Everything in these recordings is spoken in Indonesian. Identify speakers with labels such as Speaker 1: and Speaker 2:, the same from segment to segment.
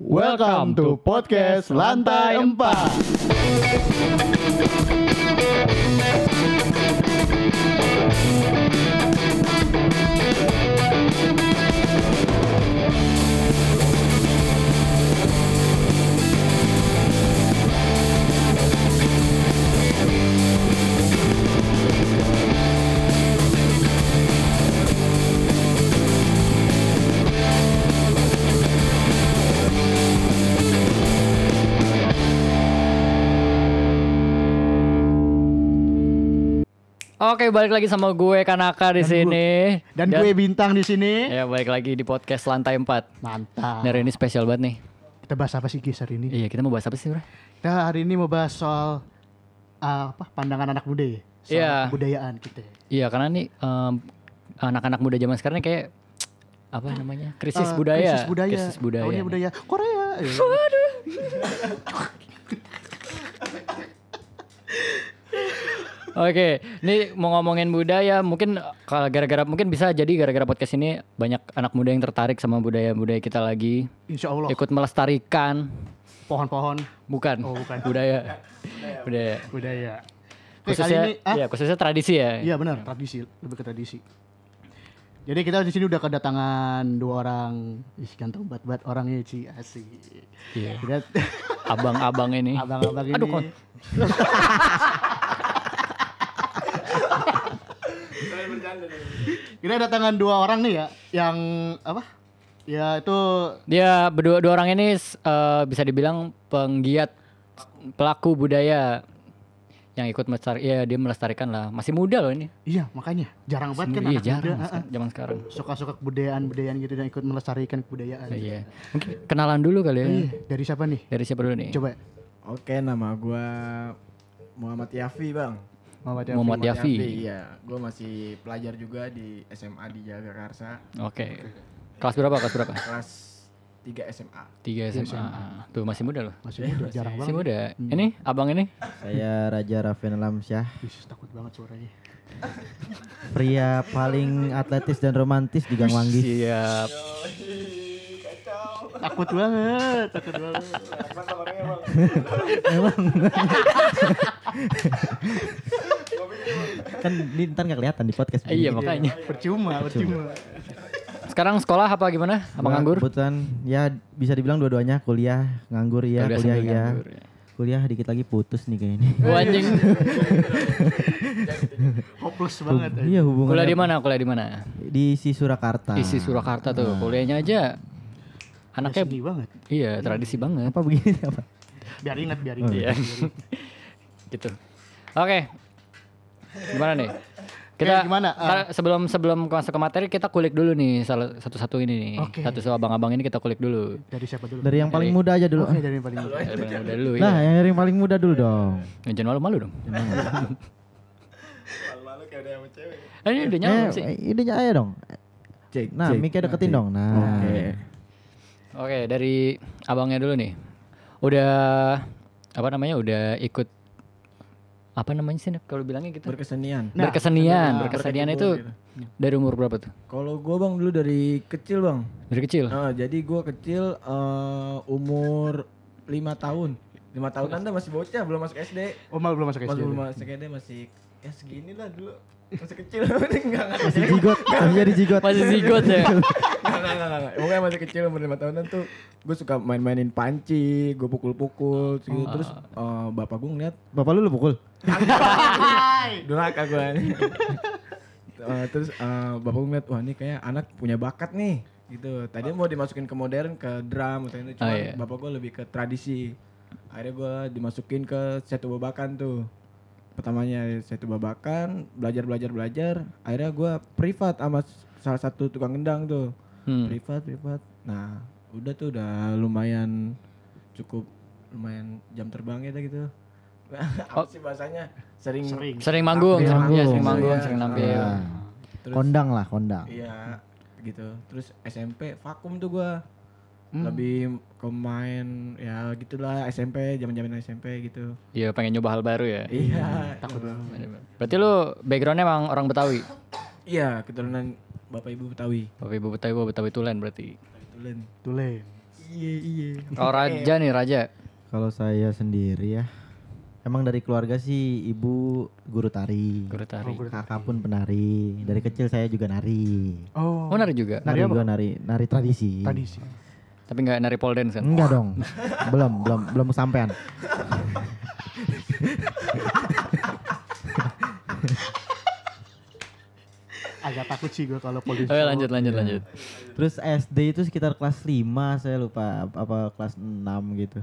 Speaker 1: Welcome to podcast Lantai 4.
Speaker 2: Oke, balik lagi sama gue Kanaka di
Speaker 1: Dan
Speaker 2: sini.
Speaker 1: Dan gue bintang di sini.
Speaker 2: Ya, balik lagi di podcast lantai 4.
Speaker 1: Mantap.
Speaker 2: Dan hari ini spesial banget nih.
Speaker 1: Kita bahas apa sih guys hari ini?
Speaker 2: Iya, kita mau bahas apa sih, Bro?
Speaker 1: Kita hari ini mau bahas soal uh, apa? Pandangan anak muda ya. Soal
Speaker 2: Iya.
Speaker 1: budayaan kita. ya.
Speaker 2: Iya, karena nih em, anak-anak muda zaman sekarang nih kayak apa namanya? Krisis
Speaker 1: Uh,
Speaker 2: budaya.
Speaker 1: Krisis budaya.
Speaker 2: Krisis budaya.
Speaker 1: Tahunnya
Speaker 2: nih.
Speaker 1: budaya Korea. Ya.
Speaker 2: Oke, ini mau ngomongin budaya, mungkin kalau gara-gara mungkin bisa jadi gara-gara podcast ini banyak anak muda yang tertarik sama budaya-budaya kita lagi,
Speaker 1: Insya Allah.
Speaker 2: ikut melestarikan
Speaker 1: Pohon-pohon
Speaker 2: bukan,
Speaker 1: Oh, bukan.
Speaker 2: budaya. budaya.
Speaker 1: budaya. Oke, kali
Speaker 2: Khususnya,
Speaker 1: ini, ah,
Speaker 2: ya, khususnya tradisi ya.
Speaker 1: Iya benar, tradisi, lebih ke tradisi. Jadi kita di sini udah kedatangan dua orang, ih ganteng banget banget orangnya Ci, asik.
Speaker 2: Iya.
Speaker 1: Kita
Speaker 2: Abang-abang ini.
Speaker 1: abang-abang ini.
Speaker 2: Aduh, kon.
Speaker 1: kita kedatangan dua orang nih ya, yang apa? Ya itu
Speaker 2: Dia berdua dua orang ini s- eh, bisa dibilang penggiat pelaku budaya yang ikut melestari ya dia melestarikan lah masih muda loh ini
Speaker 1: iya makanya jarang banget kan
Speaker 2: Iya,
Speaker 1: anak
Speaker 2: jarang
Speaker 1: muda,
Speaker 2: seka- zaman sekarang
Speaker 1: ah, ah. suka-suka kebudayaan-budayaan gitu dan ikut melestarikan kebudayaan.
Speaker 2: iya mungkin kenalan dulu kali ya
Speaker 1: Ih, dari siapa nih?
Speaker 2: dari siapa dulu nih
Speaker 1: Iya. Coba
Speaker 3: Oke, nama gua Muhammad Yafi, Bang.
Speaker 1: Muhammad Yafi.
Speaker 2: Muhammad Yafi
Speaker 3: Iya, gua masih pelajar juga di SMA di Jagakarsa,
Speaker 2: oke kelas berapa kelas berapa
Speaker 3: kelas 3 SMA.
Speaker 2: tiga
Speaker 1: Iya,
Speaker 2: SMA tuh masih muda loh
Speaker 1: Masih muda, jarang
Speaker 2: masih
Speaker 1: banget. Hmm.
Speaker 2: muda ini abang ini
Speaker 4: Saya Raja Raven Lamsyah,
Speaker 1: Ih, takut banget suaranya.
Speaker 4: pria paling atletis dan romantis di Gang
Speaker 2: Iya.
Speaker 4: Wanggis.
Speaker 2: siap
Speaker 1: Takut banget, takut banget.
Speaker 4: Kan ini ntar nggak kelihatan di podcast.
Speaker 2: Eh, iya makanya
Speaker 1: Percuma, percuma.
Speaker 2: sekarang sekolah apa gimana abang
Speaker 4: Gua
Speaker 2: nganggur
Speaker 4: Kebetulan ya bisa dibilang dua-duanya kuliah nganggur
Speaker 1: Iya,
Speaker 4: ya,
Speaker 2: Udah
Speaker 4: kuliah
Speaker 2: sambil
Speaker 4: ya.
Speaker 2: nganggur, ya.
Speaker 4: Kuliah dikit lagi putus nih kayaknya.
Speaker 2: Gua anjing
Speaker 1: Hopeless banget. eh.
Speaker 4: iya hubungan
Speaker 2: kuliah di mana kuliah di mana
Speaker 4: di si Surakarta.
Speaker 2: isi
Speaker 1: Hmm.
Speaker 2: Surakarta tuh kuliahnya aja anaknya
Speaker 1: Sedih banget.
Speaker 2: iya tradisi banget
Speaker 4: Apa begini apa?
Speaker 1: Biar ingat, biar ingat.
Speaker 2: iya gitu oke gimana nih kita
Speaker 1: Oke, gimana? Ah.
Speaker 2: ntar sebelum sebelum masuk ke materi kita kulik dulu nih salah satu-satu ini nih
Speaker 1: Oke.
Speaker 2: satu satu abang-abang ini kita kulik dulu
Speaker 1: Dari siapa dulu?
Speaker 4: Dari yang paling
Speaker 2: Dari-
Speaker 4: muda aja dulu.
Speaker 1: Oke, dari yang paling
Speaker 2: Ya,
Speaker 1: muda.
Speaker 3: Iya.
Speaker 2: bener-bener udah dulu
Speaker 4: Nah,
Speaker 2: ya
Speaker 4: yang yang paling muda dulu dong.
Speaker 2: jangan malu-malu dong
Speaker 3: Malu-malu kayak ada yang cewek.
Speaker 2: Eh, ini udah nyala
Speaker 4: eh,
Speaker 2: sih
Speaker 4: eh, idenya aja dong.
Speaker 3: Cek,
Speaker 4: Nah, mic-nya deketin dong. Nah.
Speaker 2: oke dari abangnya dulu nih udah apa namanya udah ikut apa namanya sih kalau bilangnya gitu. kita
Speaker 3: Berkesenian.
Speaker 1: Nah,
Speaker 2: berkesenian
Speaker 3: nah,
Speaker 2: berkesenian itu
Speaker 3: berkecimpung
Speaker 2: dari umur berapa tuh
Speaker 3: Kalau gua Bang dulu dari kecil, Bang.
Speaker 2: dari kecil
Speaker 3: Ah, jadi gua kecil eh, umur 5 tahun. 5 tahun Anda masih bocah, belum masuk SD.
Speaker 1: Oh, malu belum masuk SD.
Speaker 3: Pas belum masuk SD masih ya segini lah dulu. Masih kecil enggak enggak.
Speaker 4: Masih jigot, masih jadi jigot.
Speaker 2: masih zigot ya
Speaker 3: Enggak, enggak, enggak. Pokoknya masih kecil umur 5 tahunan tuh gue suka main-mainin panci, gue pukul-pukul terus gitu. Terus eh, bapak gue ngeliat
Speaker 4: Bapak lu lu pukul.
Speaker 3: durhaka gue nih. Eh, terus eh, bapak gue ngeliat wah ini kayak anak punya bakat nih gitu. Tadi mau dimasukin ke modern ke drum atau itu cuma
Speaker 2: Ah, iya.
Speaker 3: bapak gue lebih ke tradisi. Akhirnya gue dimasukin ke satu babakan tuh. Pertamanya satu babakan, belajar-belajar belajar. Akhirnya gue privat sama s- salah satu tukang gendang tuh
Speaker 2: Hmm.
Speaker 3: privat privat nah udah tuh udah lumayan cukup lumayan jam terbangnya dah gitu apa sih bahasanya sering
Speaker 1: Sering.
Speaker 2: sering manggung
Speaker 3: Iya,
Speaker 2: sering, iya,
Speaker 4: manggung.
Speaker 2: sering manggung
Speaker 3: Iya.
Speaker 2: sering nampil
Speaker 3: Iya. terus
Speaker 4: Nah, Kondang lah, kondang.
Speaker 3: iya gitu terus SMP vakum tuh gua lebih ke main ya gitulah SMP zaman zaman SMP gitu
Speaker 2: iya pengen nyoba hal baru ya
Speaker 3: iya takut banget
Speaker 2: berarti lu backgroundnya emang orang Betawi
Speaker 3: iya keturunan bapak ibu Betawi
Speaker 2: bapak ibu Betawi bapak Betawi tulen berarti
Speaker 3: keturunan
Speaker 1: Tulen.
Speaker 3: Iya iya.
Speaker 2: Kalau raja nih raja.
Speaker 4: Kalau saya sendiri ya, emang dari keluarga sih ibu guru tari,
Speaker 2: Guru tari.
Speaker 4: kakak pun penari. Dari kecil saya juga nari.
Speaker 1: Oh,
Speaker 2: Oh nari juga.
Speaker 1: Nari
Speaker 4: Nari
Speaker 1: apa?
Speaker 4: juga nari, nari tradisi.
Speaker 1: tradisi.
Speaker 2: Tapi nggak nari pole dance kan?
Speaker 4: Enggak dong, belum, belum, belum sampean.
Speaker 1: Agak takut sih gue kalau polisi.
Speaker 2: Oh ya, lanjut lanjut lanjut.
Speaker 4: Terus SD itu sekitar kelas 5 saya lupa ap- apa kelas 6 gitu.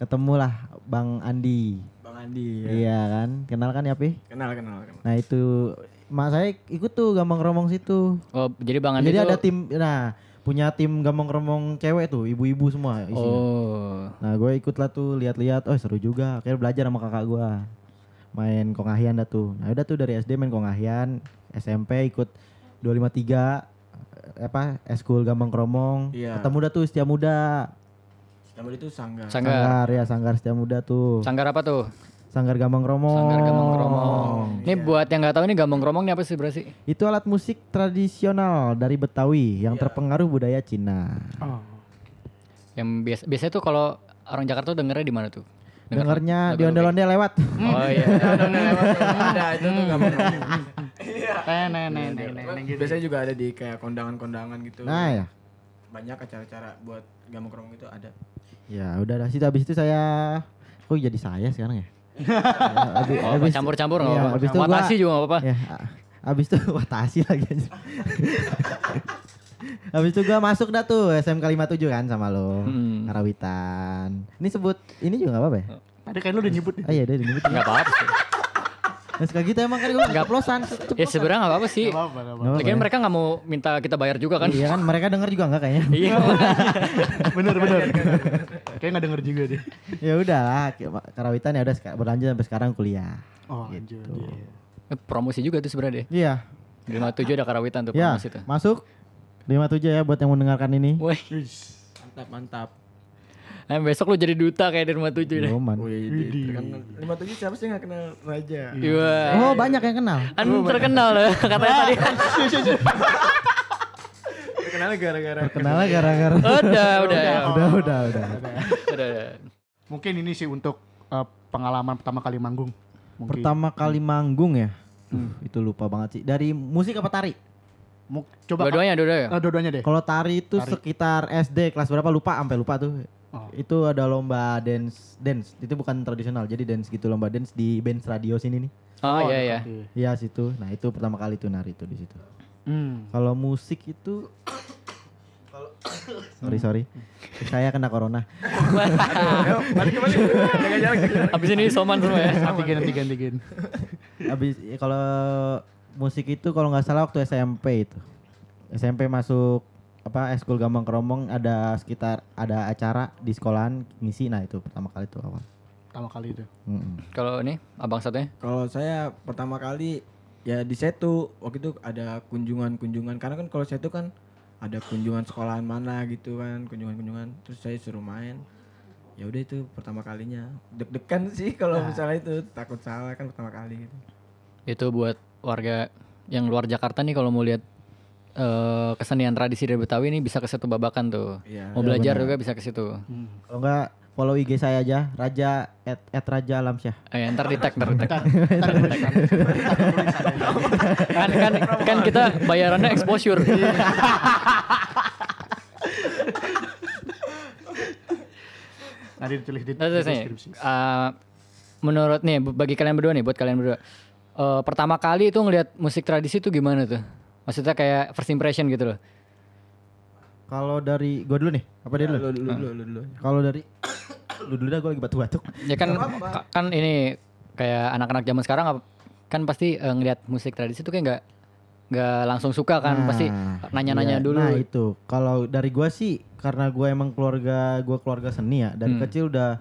Speaker 4: Ketemulah Bang Andi.
Speaker 3: Bang Andi. Ya.
Speaker 4: Iya kan? Kenal kan ya, Pi?
Speaker 3: Kenal kenal kenal.
Speaker 4: Nah, itu mak saya ikut tuh gambang romong situ.
Speaker 2: Oh jadi bang Andi
Speaker 4: Jadi
Speaker 2: tuh-
Speaker 4: ada tim nah, punya tim gambang romong cewek tuh, ibu-ibu semua isinya.
Speaker 2: Oh
Speaker 4: Nah, gue ikutlah tuh lihat-lihat. Oh, seru juga. Akhirnya belajar sama kakak gue main kongahian dah tuh. Nah, udah tuh dari SD main kongahian, SMP ikut 253 eh, apa eskul gambang kromong
Speaker 3: Iya.
Speaker 4: ketemu dah tuh setia muda
Speaker 3: Nama itu Sangga.
Speaker 2: sanggar.
Speaker 4: sanggar ya sanggar setia muda tuh
Speaker 2: Sanggar apa tuh?
Speaker 4: sanggar gambang kromong
Speaker 2: Sanggar Gambang
Speaker 4: Oh,
Speaker 2: Kromong. Ini buat yang nggak tahu nih Gambang Kromong ini apa sih berarti?
Speaker 4: itu alat musik tradisional dari betawi yang
Speaker 2: Iya.
Speaker 4: terpengaruh budaya Cina
Speaker 1: Oh.
Speaker 2: Yang biasa biasanya tuh kalau orang Jakarta tuh dengernya di mana tuh? Denger-
Speaker 4: dengarnya
Speaker 2: lagu-lagu
Speaker 4: di ondel-ondel lewat
Speaker 2: Oh iya.
Speaker 3: ada itu tuh gambang romong.
Speaker 1: Neng neng neng neng gitu.
Speaker 3: Biasanya juga ada di kayak kondangan-kondangan gitu.
Speaker 4: nah ya
Speaker 3: Banyak acara-acara buat gambang romong itu ada.
Speaker 4: ya udah dah situ habis itu saya kok jadi saya sekarang ya Ya, habis-
Speaker 2: Oh,
Speaker 4: habis-
Speaker 2: campur-campur
Speaker 4: iya,
Speaker 2: enggak
Speaker 4: habis itu
Speaker 2: apa-apa.
Speaker 4: gua-
Speaker 2: Watasi juga enggak apa-apa.
Speaker 4: Ya, a- abis itu watasi lagi aja. abis itu gua masuk dah tuh SMK 57 kan sama lo.
Speaker 2: Hmm. Oh.
Speaker 4: Karawitan. Ini sebut ini juga gak apa-apa ya?
Speaker 1: Tadi kan lu udah nyebut.
Speaker 4: Oh iya dia nyebut.
Speaker 2: Enggak apa-apa. sih.
Speaker 4: Nah, suka gitu emang kan gua
Speaker 2: Nggak-
Speaker 4: enggak plosan.
Speaker 2: Ya sebenarnya enggak apa-apa sih.
Speaker 1: Gak apa-apa. gak apa-apa.
Speaker 4: Nggak
Speaker 2: Lagian
Speaker 4: apa-apa. ya.
Speaker 2: mereka nggak mau minta kita bayar juga kan?
Speaker 4: Iya kan mereka denger juga enggak kayaknya.
Speaker 2: Iya.
Speaker 1: Bener bener. Kayaknya nggak denger juga deh.
Speaker 4: ya udahlah, karawitan ya udah seka- berlanjut sampai sekarang kuliah.
Speaker 1: Oh
Speaker 2: Gitu.
Speaker 1: anjir. iya.
Speaker 2: Eh, promosi juga tuh sebenarnya deh.
Speaker 4: Iya.
Speaker 2: Lima tujuh ada karawitan tuh
Speaker 4: Ya,
Speaker 2: promosi tuh.
Speaker 4: masuk 57 ya buat yang mendengarkan ini.
Speaker 2: Woi,
Speaker 1: Wis.
Speaker 3: Mantap mantap.
Speaker 2: eh, besok lu jadi duta kayak di rumah tujuh deh.
Speaker 4: Roman.
Speaker 1: Widih.
Speaker 3: Kan Lima tujuh siapa sih yang gak kenal Raja?
Speaker 1: Eh,
Speaker 2: Iya.
Speaker 4: Oh, banyak yang kenal.
Speaker 2: An terkenal loh katanya tadi.
Speaker 4: Iya.
Speaker 3: Terkenalnya gara-gara
Speaker 4: Kenalnya gara-gara.
Speaker 2: Udah, udah,
Speaker 4: Udah, udah, udah.
Speaker 2: udah.
Speaker 1: Mungkin ini sih untuk eh, pengalaman pertama kali manggung. Mungkin. Hmm.
Speaker 4: Pertama kali manggung ya. Duh, itu lupa banget sih. Dari musik apa tari?
Speaker 1: Mu- coba
Speaker 2: Dua-duanya, ya? dua-duanya.
Speaker 4: Iya.
Speaker 1: Eh, dua-duanya deh.
Speaker 4: Kalau tari itu
Speaker 1: Tari.
Speaker 4: sekitar SD kelas berapa lupa sampai lupa tuh.
Speaker 1: Oh.
Speaker 4: Itu ada lomba dance, dance. Itu bukan tradisional. Jadi dance gitu lomba dance di Benz Radio sini nih.
Speaker 2: Oh iya iya.
Speaker 1: oke.
Speaker 4: Iya situ. Nah, itu pertama kali tuh nari tuh di situ.
Speaker 1: Hmm.
Speaker 4: Kalau musik itu Sorry, sorry.
Speaker 1: Hmm.
Speaker 4: Saya kena corona.
Speaker 3: Balik balik. Jaga jarak.
Speaker 4: Iya.
Speaker 2: Abis ini soman semua ya.
Speaker 1: Nanti gen, nanti gen, nanti gen.
Speaker 4: Habis ya kalau musik itu kalau nggak salah waktu SMP itu. SMP masuk apa eskul gambang keromong ada sekitar ada acara di sekolahan ngisi nah itu pertama kali itu awal.
Speaker 1: Pertama kali itu.
Speaker 4: Mm-mm.
Speaker 2: Kalau ini abang satunya
Speaker 3: Kalau saya pertama kali ya di Setu waktu itu ada kunjungan-kunjungan karena kan kalau Setu kan ada kunjungan sekolahan mana gitu kan kunjungan-kunjungan terus saya suruh main ya udah itu pertama kalinya deg-degan sih kalau
Speaker 4: Nah.
Speaker 3: misalnya itu takut salah kan pertama kali gitu
Speaker 2: itu buat warga yang luar Jakarta nih kalau mau lihat eh, kesenian tradisi dari Betawi ini bisa ke situ babakan tuh.
Speaker 3: Iya.
Speaker 4: Oh,
Speaker 2: Mau belajar juga bisa ke situ.
Speaker 4: Kalau nggak follow IG saya aja Raja at, at Raja Alamsyah.
Speaker 2: Eh, ntar di tag, ntar di tag.
Speaker 1: Ntar gue berikan.
Speaker 2: kan kan kan kita bayarannya exposure.
Speaker 1: Nanti ditulis di
Speaker 2: Nah,
Speaker 1: di
Speaker 2: terus nih,
Speaker 1: deskripsi.
Speaker 2: eh, menurut nih bagi kalian berdua nih, buat kalian berdua, eh, pertama kali itu ngelihat musik tradisi itu gimana tuh? Maksudnya kayak first impression gitu loh.
Speaker 4: Kalau dari gua dulu nih, apa dia dulu?
Speaker 3: dulu dulu dulu dulu
Speaker 4: Kalau dari lu dulu dah gua lagi batuk-batuk.
Speaker 2: Ya kan ka- kan ini kayak anak-anak zaman sekarang ap- kan pasti eh, ngelihat musik tradisi itu kayak nggak nggak langsung suka kan, pasti
Speaker 4: Nah,
Speaker 2: nanya-nanya
Speaker 4: iya.
Speaker 2: dulu.
Speaker 4: Nah, itu. Kalau dari gua sih karena gua emang keluarga gua keluarga seni ya. Dari
Speaker 2: Hmm.
Speaker 4: kecil udah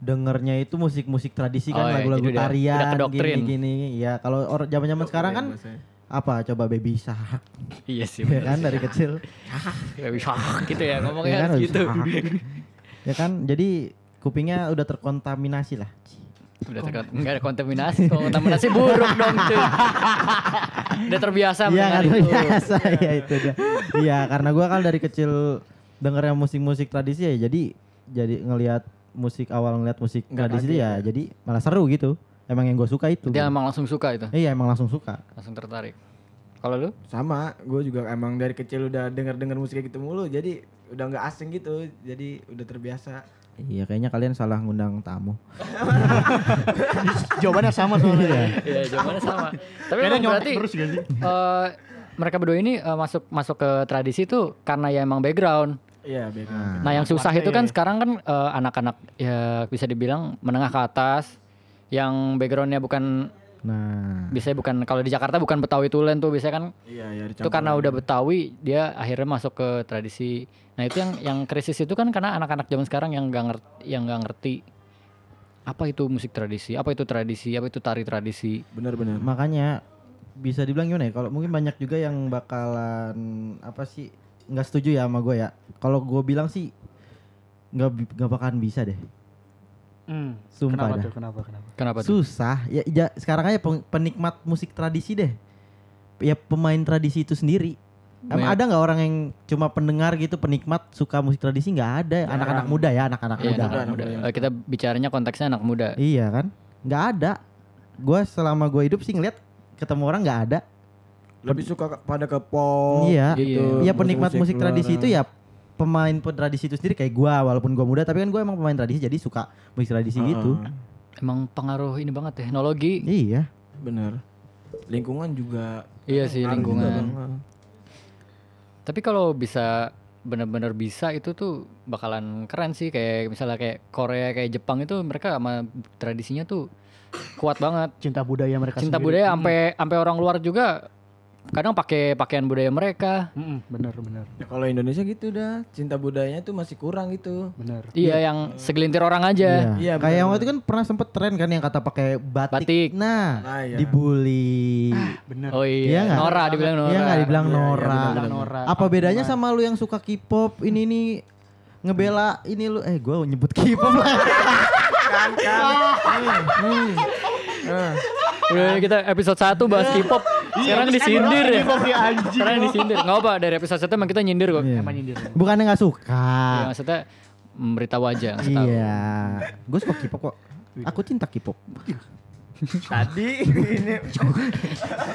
Speaker 4: dengernya itu musik-musik tradisi
Speaker 2: Oh,
Speaker 4: kan
Speaker 2: iya,
Speaker 4: lagu-lagu
Speaker 2: jadi udah-
Speaker 4: tarian
Speaker 2: udah kedoktrin.
Speaker 4: gini-gini. Ya, kalau orang zaman-zaman sekarang kan
Speaker 3: Bahasanya.
Speaker 4: apa coba baby shark
Speaker 2: Iya sih.
Speaker 4: ya
Speaker 2: bener.
Speaker 4: kan dari kecil.
Speaker 2: Kayak bisa gitu ya ngomongnya
Speaker 4: ya kan
Speaker 2: harus
Speaker 4: baby
Speaker 2: gitu.
Speaker 4: shark. ya kan jadi kupingnya udah terkontaminasi lah.
Speaker 2: Udah terkait nggak ada kontaminasi, kalau kontaminasi buruk dong cuy. Udah terbiasa
Speaker 4: Iya
Speaker 2: mendengar
Speaker 4: kan
Speaker 2: itu. Iya.
Speaker 4: Iya, biasa ya itu dia. Iya karena gua kan dari kecil dengernya musik-musik tradisi ya jadi jadi ngelihat musik awal ngelihat musik
Speaker 3: Nggak
Speaker 4: tradisi
Speaker 3: kaget
Speaker 4: ya jadi malah seru gitu. Emang yang gue suka itu.
Speaker 2: Dia emang langsung suka itu,
Speaker 4: Iya emang langsung suka.
Speaker 2: langsung tertarik. Kalau lu?
Speaker 3: sama gue juga emang dari kecil udah denger denger musik kayak gitu mulu jadi udah nggak asing gitu jadi udah terbiasa
Speaker 4: Iya kayaknya kalian salah ngundang tamu.
Speaker 1: Jawabannya sama soalnya.
Speaker 2: Iya, jawabannya sama. Tapi
Speaker 1: Kayaknya
Speaker 2: emang
Speaker 1: nyontek
Speaker 2: berarti
Speaker 1: terus gak sih?
Speaker 2: eh, mereka berdua ini eh, masuk masuk ke tradisi itu karena ya emang background.
Speaker 3: iya beda
Speaker 2: Nah, yang susah
Speaker 1: Keluarga
Speaker 2: itu kan
Speaker 1: ya.
Speaker 2: sekarang kan eh, anak-anak ya bisa dibilang menengah ke atas yang backgroundnya bukan
Speaker 4: Nah
Speaker 2: biasanya bukan kalau di Jakarta bukan Betawi Tulen tuh biasanya kan
Speaker 3: iya iya
Speaker 2: itu
Speaker 3: dicampur
Speaker 2: karena
Speaker 3: lagi.
Speaker 2: udah Betawi dia akhirnya masuk ke tradisi. Nah, itu yang yang krisis itu kan karena anak-anak zaman sekarang yang gak ngerti yang gak ngerti apa itu musik tradisi, apa itu tradisi, apa itu tari tradisi.
Speaker 3: bener bener
Speaker 4: makanya bisa dibilang gimana ya? Kalau mungkin banyak juga yang bakalan apa sih nggak setuju ya sama gue ya. Kalau gue bilang sih nggak bi- nggak bakalan bisa deh.
Speaker 1: Hmm.
Speaker 4: Sumpah
Speaker 1: Kenapa
Speaker 4: dah.
Speaker 1: tuh? Kenapa? Kenapa?
Speaker 2: Kenapa tuh?
Speaker 4: Susah. Ya, ja- sekarang aja peng- penikmat musik tradisi deh. Ya pemain tradisi itu sendiri. Emang
Speaker 2: Banyak.
Speaker 4: ada nggak orang yang cuma pendengar gitu penikmat suka musik tradisi nggak ada
Speaker 3: Jarang.
Speaker 4: anak-anak muda ya anak-anak
Speaker 2: Iya,
Speaker 4: muda.
Speaker 2: anak
Speaker 3: Anak
Speaker 2: muda.
Speaker 3: muda.
Speaker 2: Eh, kita bicaranya konteksnya anak muda.
Speaker 4: Iya kan? Nggak ada. Gue selama gue hidup sih ngeliat ketemu orang nggak ada.
Speaker 3: lebih suka ke- pada ke pop
Speaker 4: Iya.
Speaker 3: gitu
Speaker 4: Iya penikmat musik tradisi itu
Speaker 3: luar.
Speaker 4: ya pemain pe- tradisi itu sendiri kayak gue walaupun gue muda tapi kan gue emang pemain tradisi jadi suka musik tradisi
Speaker 3: Heeh,
Speaker 4: gitu.
Speaker 2: Emang pengaruh ini banget teknologi.
Speaker 4: Iya.
Speaker 3: bener lingkungan juga
Speaker 2: Iya sih
Speaker 3: ngaruh juga,
Speaker 4: kan.
Speaker 2: lingkungan.
Speaker 3: Bang.
Speaker 2: Tapi kalau bisa bener-bener bisa itu tuh bakalan keren sih kayak misalnya kayak Korea kayak Jepang itu mereka sama tradisinya tuh kuat banget.
Speaker 1: Cinta budaya mereka
Speaker 2: Cinta
Speaker 1: sendiri.
Speaker 2: budaya sampai sampai orang luar juga kadang pakai pakaian budaya mereka.
Speaker 1: Mm-mm, bener, bener,
Speaker 3: Ya, kalau Indonesia gitu dah cinta budayanya tuh masih kurang gitu
Speaker 1: bener.
Speaker 2: Iya yang segelintir orang aja.
Speaker 4: Iya.
Speaker 3: Iya,
Speaker 4: kayak
Speaker 3: benar.
Speaker 4: waktu itu kan pernah sempet tren kan yang kata pakai batik.
Speaker 2: Batik.
Speaker 4: Nah,
Speaker 3: Nah, iya.
Speaker 4: dibully.
Speaker 1: Bener.
Speaker 2: Oh
Speaker 4: Iya
Speaker 2: iya,
Speaker 4: nggak?
Speaker 2: Nora dibilang Nora.
Speaker 4: Iya nggak dibilang
Speaker 3: Iya, iya,
Speaker 4: Nora.
Speaker 3: benar,
Speaker 1: Bilang Nora.
Speaker 4: Apa bedanya sama lu yang suka K-pop ini nih ngebela ini lu eh gua nyebut K-pop lah.
Speaker 2: Udah kita episode 1 bahas
Speaker 4: Iya.
Speaker 2: K-pop. Sekarang disindir ya.
Speaker 1: Kok dia anjing?
Speaker 2: Sekarang disindir. Enggak apa dari episode 1 emang kita nyindir kok.
Speaker 4: Iya.
Speaker 1: Apa nyindir?
Speaker 4: Bukannya nggak
Speaker 2: Ya,
Speaker 4: suka.
Speaker 2: maksudnya memberitahu aja, ngasih tahu.
Speaker 4: Iya. Gue suka K-pop kok. Aku cinta K-pop.
Speaker 3: tadi ini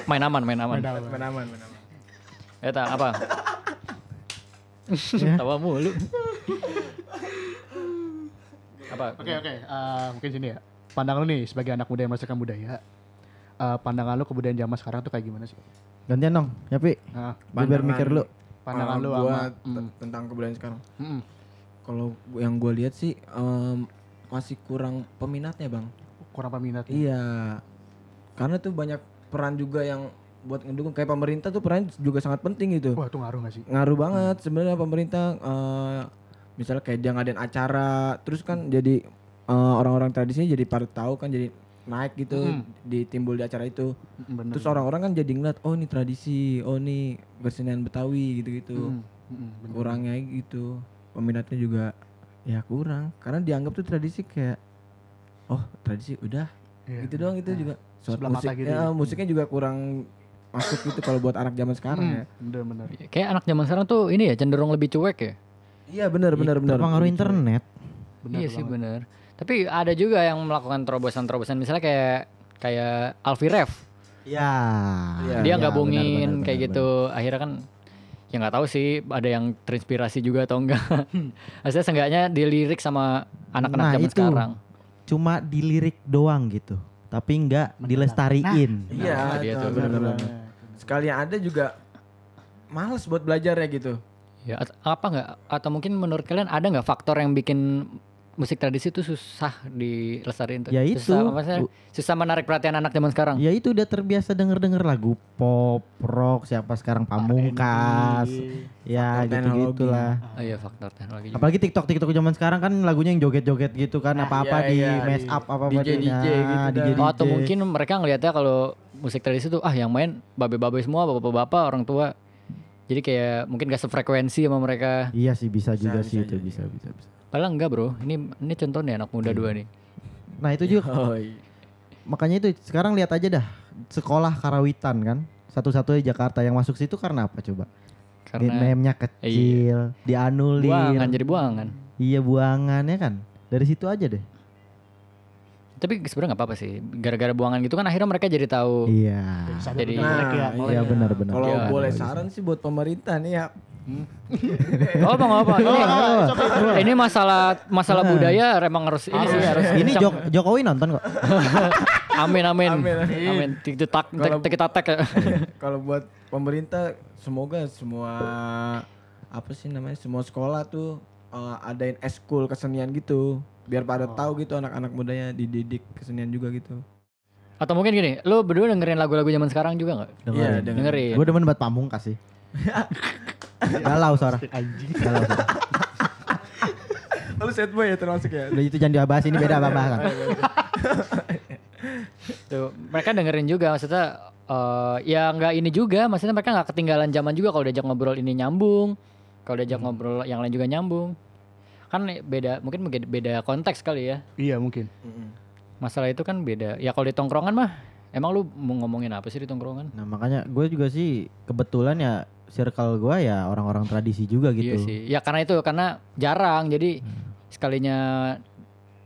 Speaker 2: Main aman, main aman.
Speaker 3: menaman menaman
Speaker 2: Eta apa? Tawa mulu. apa?
Speaker 1: Oke oke, Eh, mungkin sini ya. Pandangan lu nih sebagai anak muda yang merasakan budaya, eh, pandangan lu ke budaya zaman sekarang tuh kayak gimana sih?
Speaker 4: Gantian dong, ya Pi.
Speaker 3: Ah.
Speaker 1: Nah,
Speaker 4: Gua biar
Speaker 3: Pandangan.
Speaker 4: mikir lu.
Speaker 1: pandangan
Speaker 3: Kalau
Speaker 1: lu
Speaker 3: Ah, gua
Speaker 1: sama Hmm.
Speaker 3: te- tentang kebudayaan sekarang
Speaker 1: Mm-mm.
Speaker 3: kalau gu- yang gue lihat sih em, masih kurang peminatnya bang
Speaker 1: mm, kurang peminat.
Speaker 3: iya karena tuh banyak peran juga yang buat ngedukung kayak pemerintah tuh peran juga sangat penting gitu
Speaker 1: Wah, itu ngaruh gak sih?
Speaker 3: ngaruh banget sebenarnya pemerintah eh, misalnya kayak dia ngadain acara terus kan jadi eh, orang-orang tradisinya jadi pada tahu kan jadi naik gitu ditimbul di acara itu
Speaker 1: Mm, Bener.
Speaker 3: terus orang-orang kan jadi ngeliat oh ini tradisi oh ini kesenian betawi
Speaker 1: Mm,
Speaker 3: gitu-gitu
Speaker 1: mm, bener.
Speaker 3: kurangnya gitu peminatnya juga ya kurang karena dianggap tuh tradisi kayak oh tradisi udah
Speaker 1: Iya.
Speaker 3: gitu doang itu juga Soal
Speaker 1: Sebelah mata
Speaker 3: musik
Speaker 1: gitu
Speaker 3: ya,
Speaker 1: ya.
Speaker 3: musiknya juga kurang masuk gitu kalau buat anak zaman sekarang
Speaker 1: Mm,
Speaker 3: ya
Speaker 1: bener bener.
Speaker 2: Kayak anak zaman sekarang tuh ini ya cenderung lebih cuek ya.
Speaker 3: iya benar benar benar
Speaker 4: Gitu. Pengaruh internet.
Speaker 1: Bener
Speaker 2: iya sih bener. Tapi ada juga yang melakukan terobosan-terobosan misalnya kayak kayak Alfi Ref.
Speaker 4: Ya.
Speaker 3: Iya.
Speaker 2: Dia
Speaker 4: ya,
Speaker 2: nggak bohongin
Speaker 4: benar, benar, benar,
Speaker 2: kayak
Speaker 4: benar.
Speaker 2: gitu. Akhirnya kan ya nggak tahu sih ada yang terinspirasi juga atau enggak. Maksudnya seenggaknya dilirik sama anak-anak
Speaker 4: Hmm. Nah,
Speaker 2: zaman
Speaker 4: itu.
Speaker 2: sekarang.
Speaker 4: Cuma dilirik doang gitu. Tapi nggak dilestariin.
Speaker 3: iya
Speaker 2: Nah, dia tuh.
Speaker 3: benar benar sekali yang ada juga males buat belajar ya gitu
Speaker 2: Ya at- apa nggak atau mungkin menurut kalian ada nggak faktor yang bikin musik tradisi itu susah dilestarikan tuh?
Speaker 4: Ya
Speaker 2: Susah,
Speaker 4: itu.
Speaker 2: maksudnya susah menarik perhatian anak zaman sekarang.
Speaker 4: Ya itu udah terbiasa denger-denger lagu pop, rock, siapa sekarang pamungkas. Ya
Speaker 3: Faktor
Speaker 4: gitu-gitulah.
Speaker 2: Oh iya faktor teknologi. juga.
Speaker 4: Apalagi TikTok-TikTok zaman sekarang kan lagunya yang joget-joget gitu kan,
Speaker 3: iya,
Speaker 4: apa-apa di
Speaker 3: iya,
Speaker 4: mess
Speaker 3: di-
Speaker 4: up apa-apa Nah,
Speaker 3: DJ, DJ gitu
Speaker 4: di
Speaker 3: dah.
Speaker 2: Oh, atau mungkin mereka ngelihatnya kalau musik tradisi tuh ah yang main babe-babe semua, bapak-bapak, orang tua. Jadi kayak mungkin gak sefrekuensi sama mereka.
Speaker 4: Iya sih bisa, juga
Speaker 3: bisa
Speaker 4: sih itu
Speaker 3: jadi.
Speaker 4: bisa bisa bisa.
Speaker 2: Padahal enggak, Bro. Ini ini contoh nih anak
Speaker 4: Iya.
Speaker 2: muda dua nih.
Speaker 4: Nah, itu juga
Speaker 3: oh iya.
Speaker 4: makanya itu sekarang lihat aja dah sekolah karawitan kan satu-satunya Jakarta yang masuk situ karena apa coba Di
Speaker 2: karena iya.
Speaker 4: name-nya kecil, dianulir.
Speaker 2: buangan jadi buangan.
Speaker 4: Iya buangannya kan. Dari situ aja deh.
Speaker 2: Tapi sebenarnya nggak apa-apa sih. Gara-gara buangan gitu kan akhirnya mereka jadi tahu.
Speaker 4: Iya.
Speaker 1: Sadar
Speaker 2: Jadi-
Speaker 1: udah melek ya.
Speaker 3: Nah,
Speaker 1: melek.
Speaker 4: Iya benar-benar.
Speaker 3: Kalau
Speaker 2: Iya,
Speaker 3: boleh
Speaker 4: iya.
Speaker 3: saran sih buat pemerintah nih ya.
Speaker 2: Oh, apa nggak apa.
Speaker 1: Oh,
Speaker 2: Ini,
Speaker 1: oh, it's okay.
Speaker 2: ini masalah masalah budaya emang harus ini sih harus
Speaker 4: Ini
Speaker 2: kencang.
Speaker 4: Jok- Jokowi nonton
Speaker 3: Iya,
Speaker 4: kok.
Speaker 2: Amin amin.
Speaker 3: Amin, amin.
Speaker 2: Amin. Tik tak
Speaker 3: Kalau-
Speaker 2: kita tak. ya.
Speaker 3: Kalau buat pemerintah semoga semua apa sih namanya semua sekolah tuh eh, adain eskul kesenian gitu biar pada tahu gitu anak-anak mudanya dididik kesenian juga gitu.
Speaker 2: Atau mungkin gini, lu berdua dengerin lagu-lagu zaman sekarang juga nggak?
Speaker 3: Iya,
Speaker 4: Dengerin.
Speaker 3: dengerin.
Speaker 2: Dengerin.
Speaker 4: Gue demen buat pamungkas sih. Galau suara. Galau suara.
Speaker 3: Lalu set boy ya termasuk ya.
Speaker 4: Udah itu jangan dibahas ini beda babah kan.
Speaker 3: Iya.
Speaker 2: Tuh, mereka dengerin juga maksudnya eh, ya nggak ini juga maksudnya mereka nggak ketinggalan zaman juga kalau diajak ngobrol ini nyambung kalau diajak ngobrol yang lain juga nyambung kan beda mungkin beda- beda konteks kali ya
Speaker 1: Iya mungkin.
Speaker 2: masalah itu kan beda ya kalau di tongkrongan mah emang lu mau ngomongin apa sih di tongkrongan
Speaker 4: Nah makanya gue juga sih kebetulan ya circle gue ya orang-orang tradisi juga
Speaker 2: iya
Speaker 4: gitu.
Speaker 2: sih ya karena itu karena jarang jadi sekalinya